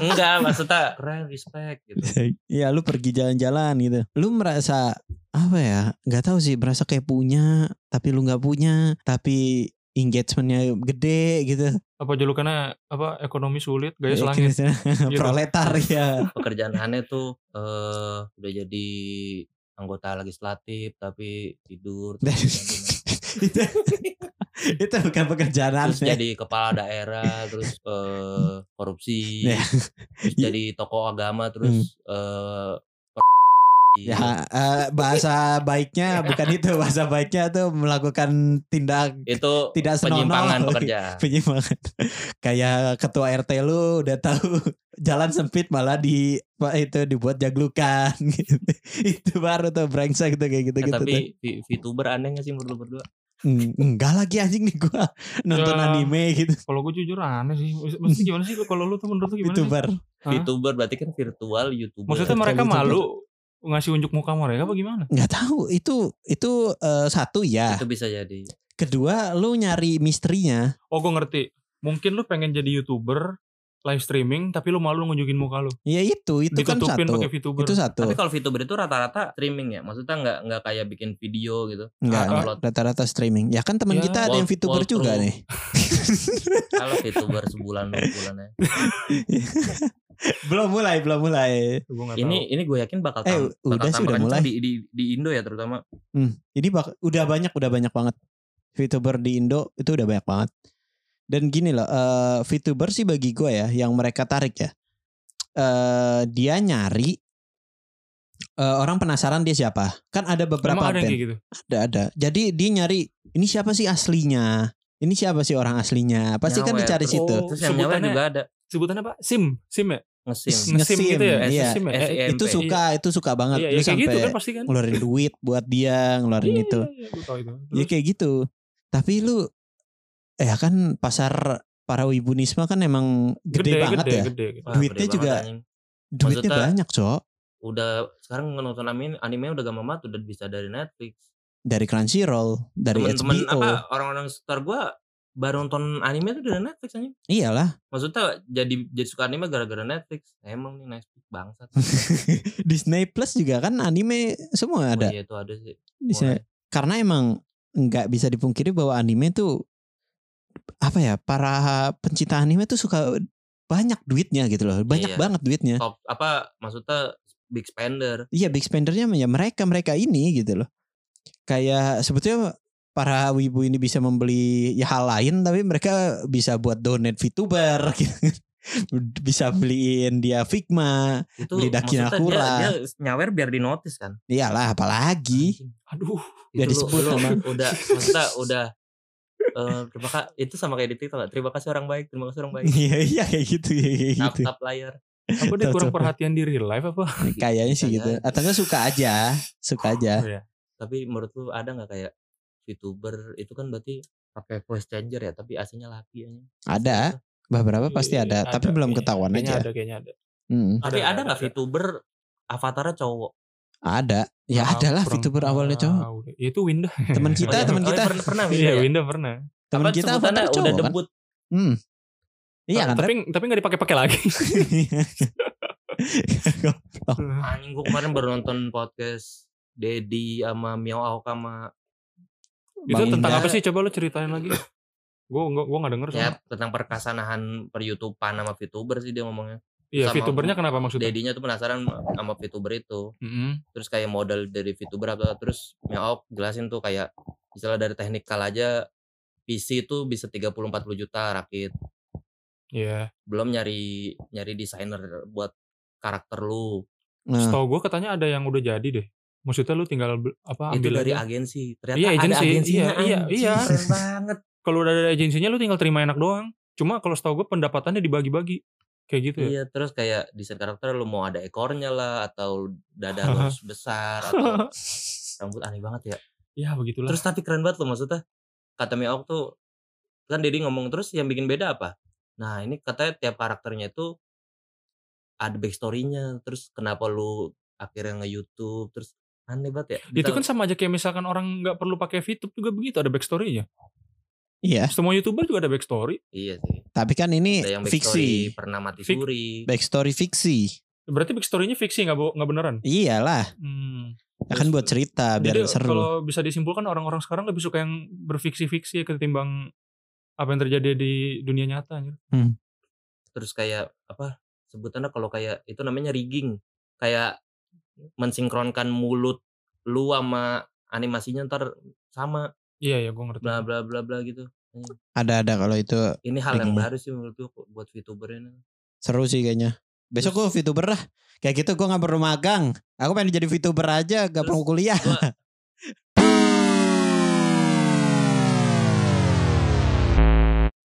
Speaker 2: Enggak maksudnya keren respect gitu.
Speaker 1: ya lu pergi jalan-jalan gitu lu merasa apa ya nggak tahu sih merasa kayak punya tapi lu nggak punya tapi engagementnya gede gitu
Speaker 3: apa julukannya apa ekonomi sulit gaya
Speaker 1: Ya,
Speaker 3: selangit?
Speaker 1: kira-kira proletar ya
Speaker 2: Pekerjaan aneh tuh eh udah jadi anggota legislatif tapi tidur terus, gimana-gimana.
Speaker 1: itu, itu bukan pekerjaan
Speaker 2: Terus
Speaker 1: aneh.
Speaker 2: jadi kepala daerah terus eh korupsi
Speaker 1: Ya.
Speaker 2: terus
Speaker 1: Iya.
Speaker 2: jadi tokoh agama terus eh
Speaker 1: ya eh, bahasa baiknya bukan itu bahasa baiknya tuh melakukan tindak
Speaker 2: itu
Speaker 1: tidak senonoh.
Speaker 2: penyimpangan Eh, pekerjaan
Speaker 1: penyimpangan kayak ketua RT lu udah tahu jalan sempit malah di apa itu dibuat jaglukan gitu. itu baru tuh brengsek tuh kayak gitu
Speaker 2: Eh,
Speaker 3: Ya,
Speaker 1: gitu
Speaker 2: tapi vi- VTuber aneh gak sih menurut lu berdua?
Speaker 1: enggak lagi anjing nih gua nonton
Speaker 3: Ya.
Speaker 1: anime gitu
Speaker 3: Kalau gue jujur aneh sih. Maksudnya gimana sih kalau lu tuh menurut lu gimana? sih?
Speaker 1: youtuber
Speaker 3: Hah?
Speaker 2: VTuber berarti kan virtual YouTuber.
Speaker 3: Maksudnya mereka
Speaker 1: Kalau
Speaker 3: malu ngasih unjuk muka mereka apa gimana?
Speaker 1: nggak tahu itu itu eh, satu ya
Speaker 2: itu bisa jadi.
Speaker 1: kedua lu nyari misterinya
Speaker 3: Oh gue ngerti. Mungkin lu pengen jadi youtuber live streaming tapi lu malu ngunjukin muka lu.
Speaker 1: Ya itu, itu kan
Speaker 3: Ditutupin
Speaker 1: satu.
Speaker 3: pakai VTuber.
Speaker 1: Itu satu.
Speaker 2: Tapi kalau VTuber itu rata-rata streaming ya, maksudnya nggak nggak kayak bikin video gitu.
Speaker 1: Enggak,
Speaker 2: Ah,
Speaker 1: enggak. rata-rata streaming. Ya kan teman
Speaker 3: Ya,
Speaker 1: kita ada yang
Speaker 2: wall-
Speaker 1: VTuber juga
Speaker 2: walkthrough.
Speaker 1: nih.
Speaker 2: Kalau VTuber sebulan dua bulan ya.
Speaker 1: belum mulai, belum mulai.
Speaker 3: Gua nggak
Speaker 2: Ini ini gue yakin bakal
Speaker 1: Eh,
Speaker 2: tam-
Speaker 1: udah
Speaker 2: bakal
Speaker 1: sih,
Speaker 2: tambah
Speaker 1: udah
Speaker 2: kencang
Speaker 1: mulai.
Speaker 2: di, di di Indo ya terutama.
Speaker 1: Hmm. Ini bak- udah banyak, udah banyak banget. VTuber di Indo itu udah banyak banget. Dan gini loh, eh, VTuber sih bagi gue ya, yang mereka tarik ya. eh dia nyari eh, orang penasaran dia siapa. Kan ada
Speaker 3: tahu. Emang
Speaker 1: beberapa
Speaker 3: ada yang
Speaker 1: band.
Speaker 3: kayak gitu.
Speaker 1: Ada, ada. Jadi dia nyari, ini siapa sih aslinya? Ini siapa sih orang aslinya? Pasti kan
Speaker 2: Nyawer.
Speaker 1: dicari
Speaker 2: Terus-
Speaker 1: situ.
Speaker 3: Oh,
Speaker 2: Terus yang nyawa
Speaker 3: sebutannya-
Speaker 2: juga ada
Speaker 3: Sebutannya apa? SIM, SIM ya?
Speaker 2: ngesim.
Speaker 1: Ngesim,
Speaker 3: Ngesim gitu ya.
Speaker 1: iya.
Speaker 3: SIM ya?
Speaker 2: SIM.
Speaker 1: Itu
Speaker 2: SMP.
Speaker 1: suka, itu suka banget. Lu
Speaker 3: Iya, iya kayak
Speaker 1: sampai
Speaker 3: gitu kan pasti kan.
Speaker 1: ngeluarin duit buat dia, ngeluarin itu.
Speaker 3: Iya, gua tahu itu.
Speaker 1: Ya
Speaker 3: Terus,
Speaker 1: kayak gitu. Tapi lu ya kan pasar para wibunisme kan emang gede, banget ya.
Speaker 3: Gede, gede.
Speaker 2: Wah,
Speaker 1: Duitnya
Speaker 2: gede banget,
Speaker 1: juga-
Speaker 2: anjing.
Speaker 1: Duitnya
Speaker 2: Maksudnya-
Speaker 1: banyak, Cok.
Speaker 2: Udah sekarang nonton anime, anime udah gampang banget udah bisa dari Netflix.
Speaker 1: Dari Crunchyroll, dari
Speaker 2: Temen-temen
Speaker 1: HBO.
Speaker 2: apa orang-orang sekitar gue baru nonton anime tuh dari Netflix anjing.
Speaker 1: Iyalah,
Speaker 2: Maksudnya jadi jadi suka anime gara-gara Netflix. Emang nih Netflix bangsat.
Speaker 1: Disney Plus juga kan anime semua
Speaker 2: Oh
Speaker 1: ada.
Speaker 2: iya itu ada sih.
Speaker 1: Disney-
Speaker 2: Mulai.
Speaker 1: Karena emang nggak bisa dipungkiri bahwa anime tuh apa ya, para pencinta anime tuh suka banyak duitnya gitu loh. Banyak
Speaker 2: Iya.
Speaker 1: banget duitnya.
Speaker 2: Top apa maksudnya big spender.
Speaker 1: Iya big spendernya ya mereka mereka ini gitu loh. Kayak sebetulnya para wibu ini bisa membeli ya hal lain tapi mereka bisa buat donate VTuber gitu. bisa beliin dia Figma
Speaker 2: Itu
Speaker 1: Beli daki
Speaker 2: maksudnya dia,
Speaker 1: Nakura.
Speaker 2: dia nyawer biar dinotis kan.
Speaker 1: iyalah apalagi
Speaker 3: Aduh,
Speaker 1: Nggak
Speaker 2: Itu lu-
Speaker 1: disebut
Speaker 2: lu
Speaker 1: sama.
Speaker 2: udah maksudnya udah eh terima kasih itu sama kayak di TikTok nggak? terima kasih orang baik terima kasih orang baik Nah,
Speaker 1: iya iya kayak gitu ya kayak
Speaker 2: tap
Speaker 1: gitu
Speaker 2: tap layar
Speaker 3: apa dia kurang
Speaker 1: Cocok.
Speaker 3: perhatian di real life apa?
Speaker 1: kayaknya sih gitu atau enggak suka aja suka aja
Speaker 3: Oh, iya.
Speaker 2: tapi menurut lu ada nggak kayak VTuber itu kan berarti pakai voice changer ya tapi aslinya laki aja Gitu. Iya.
Speaker 1: ada beberapa pasti ada tapi belum
Speaker 3: kayaknya.
Speaker 1: ketahuan
Speaker 3: Kayaknya
Speaker 1: aja
Speaker 3: Iya, Ada kayaknya ada.
Speaker 1: Mm,
Speaker 2: tapi
Speaker 3: Ada,
Speaker 2: ada
Speaker 3: ada,
Speaker 2: nggak
Speaker 3: ada.
Speaker 2: VTuber avatarnya cowok
Speaker 1: ada ya
Speaker 3: Aku
Speaker 1: adalah
Speaker 3: kurang
Speaker 1: VTuber awalnya cowok
Speaker 3: tahu deh. Ya, Itu Winda.
Speaker 1: teman kita
Speaker 2: Oh, iya.
Speaker 1: teman
Speaker 2: Oh, iya,
Speaker 1: kita
Speaker 2: pernah, pernah
Speaker 3: Iya,
Speaker 2: Winda ya?
Speaker 3: Winda pernah.
Speaker 1: teman
Speaker 2: Apa
Speaker 1: kita
Speaker 2: sebutannya
Speaker 1: avatar
Speaker 2: udah
Speaker 1: cowok kan
Speaker 2: debut
Speaker 1: Hmm. Iya kan,
Speaker 3: tapi tapi nggak dipakai-pakai lagi.
Speaker 1: Rep? Oh,
Speaker 2: anjing gua kemarin baru nonton podcast Dedi sama Miao Aoka sama
Speaker 3: itu
Speaker 1: Bang
Speaker 3: tentang
Speaker 1: Indah.
Speaker 3: apa sih? Coba lu ceritain lagi. Gue gua gua nggak denger. sama.
Speaker 2: ya tentang perkasanahan per YouTubean sama VTuber sih dia ngomongnya
Speaker 3: Iya,
Speaker 2: sama
Speaker 3: VTubernya kenapa maksudnya?
Speaker 2: Dedinya tuh penasaran sama VTuber itu
Speaker 3: Mm-mm.
Speaker 2: terus kayak model dari VTuber apa terus Miao jelasin tuh kayak misalnya dari teknikal aja PC itu bisa 30-40 juta rakit
Speaker 3: Iya.
Speaker 2: belum nyari nyari desainer buat karakter lu
Speaker 1: Nah,
Speaker 3: Setahu gue katanya ada yang udah jadi deh. Maksudnya lu tinggal bel-
Speaker 2: itu
Speaker 3: apa Ah, ambil
Speaker 2: dari
Speaker 3: aja.
Speaker 2: agensi ternyata
Speaker 3: Iya,
Speaker 2: ada
Speaker 3: agensi.
Speaker 2: agensinya
Speaker 3: Iya, iya,
Speaker 2: anjing,
Speaker 3: iya.
Speaker 2: keren banget
Speaker 3: Kalau udah ada agensinya lu tinggal terima enak doang. Cuma kalau setahu gue pendapatannya dibagi-bagi. Kayak gitu ya.
Speaker 2: iya terus kayak desain karakter lu mau ada ekornya lah atau dada lu harus besar
Speaker 3: gitu
Speaker 2: atau rambut aneh banget ya
Speaker 3: Iya, begitulah.
Speaker 2: terus tapi keren banget lo maksudnya kata Miao tuh kan Dedi ngomong terus yang bikin beda apa nah ini katanya tiap karakternya itu ada backstory-nya terus kenapa lu akhirnya nge YouTube terus aneh banget ya Bisa-
Speaker 3: itu kan sama aja kayak misalkan orang nggak perlu pakai VTube juga begitu ada backstorynya.
Speaker 1: iya,
Speaker 3: Semua youtuber juga ada backstory.
Speaker 2: iya sih
Speaker 1: tapi kan ini
Speaker 2: ada yang backstory
Speaker 1: fiksi,
Speaker 2: pernah mati
Speaker 3: Fik-
Speaker 2: suri
Speaker 1: backstory fiksi.
Speaker 3: Berarti backstorynya fiksi nggak bo- nggak beneran.
Speaker 1: Iyalah,
Speaker 3: Hmm.
Speaker 1: ya kan buat cerita biar
Speaker 3: Jadi
Speaker 1: seru.
Speaker 3: kalau bisa disimpulkan orang-orang sekarang lebih suka yang berfiksi-fiksi ya ketimbang apa yang terjadi di dunia nyata. anjir.
Speaker 2: terus kayak apa sebutannya kalau kayak itu namanya rigging kayak mensinkronkan mulut lu sama animasinya ntar sama
Speaker 3: Iya ya, gue ngerti.
Speaker 2: bla bla bla bla gitu
Speaker 1: Ada-ada kalau itu
Speaker 2: ini hal yang
Speaker 1: Rigging.
Speaker 2: baru sih menurut gue buat VTuber ini
Speaker 1: seru sih kayaknya. Besok gue VTuber lah. Kayak gitu gue gak perlu magang. Aku pengen jadi VTuber aja, gak
Speaker 2: Terus-
Speaker 1: perlu kuliah.
Speaker 2: gua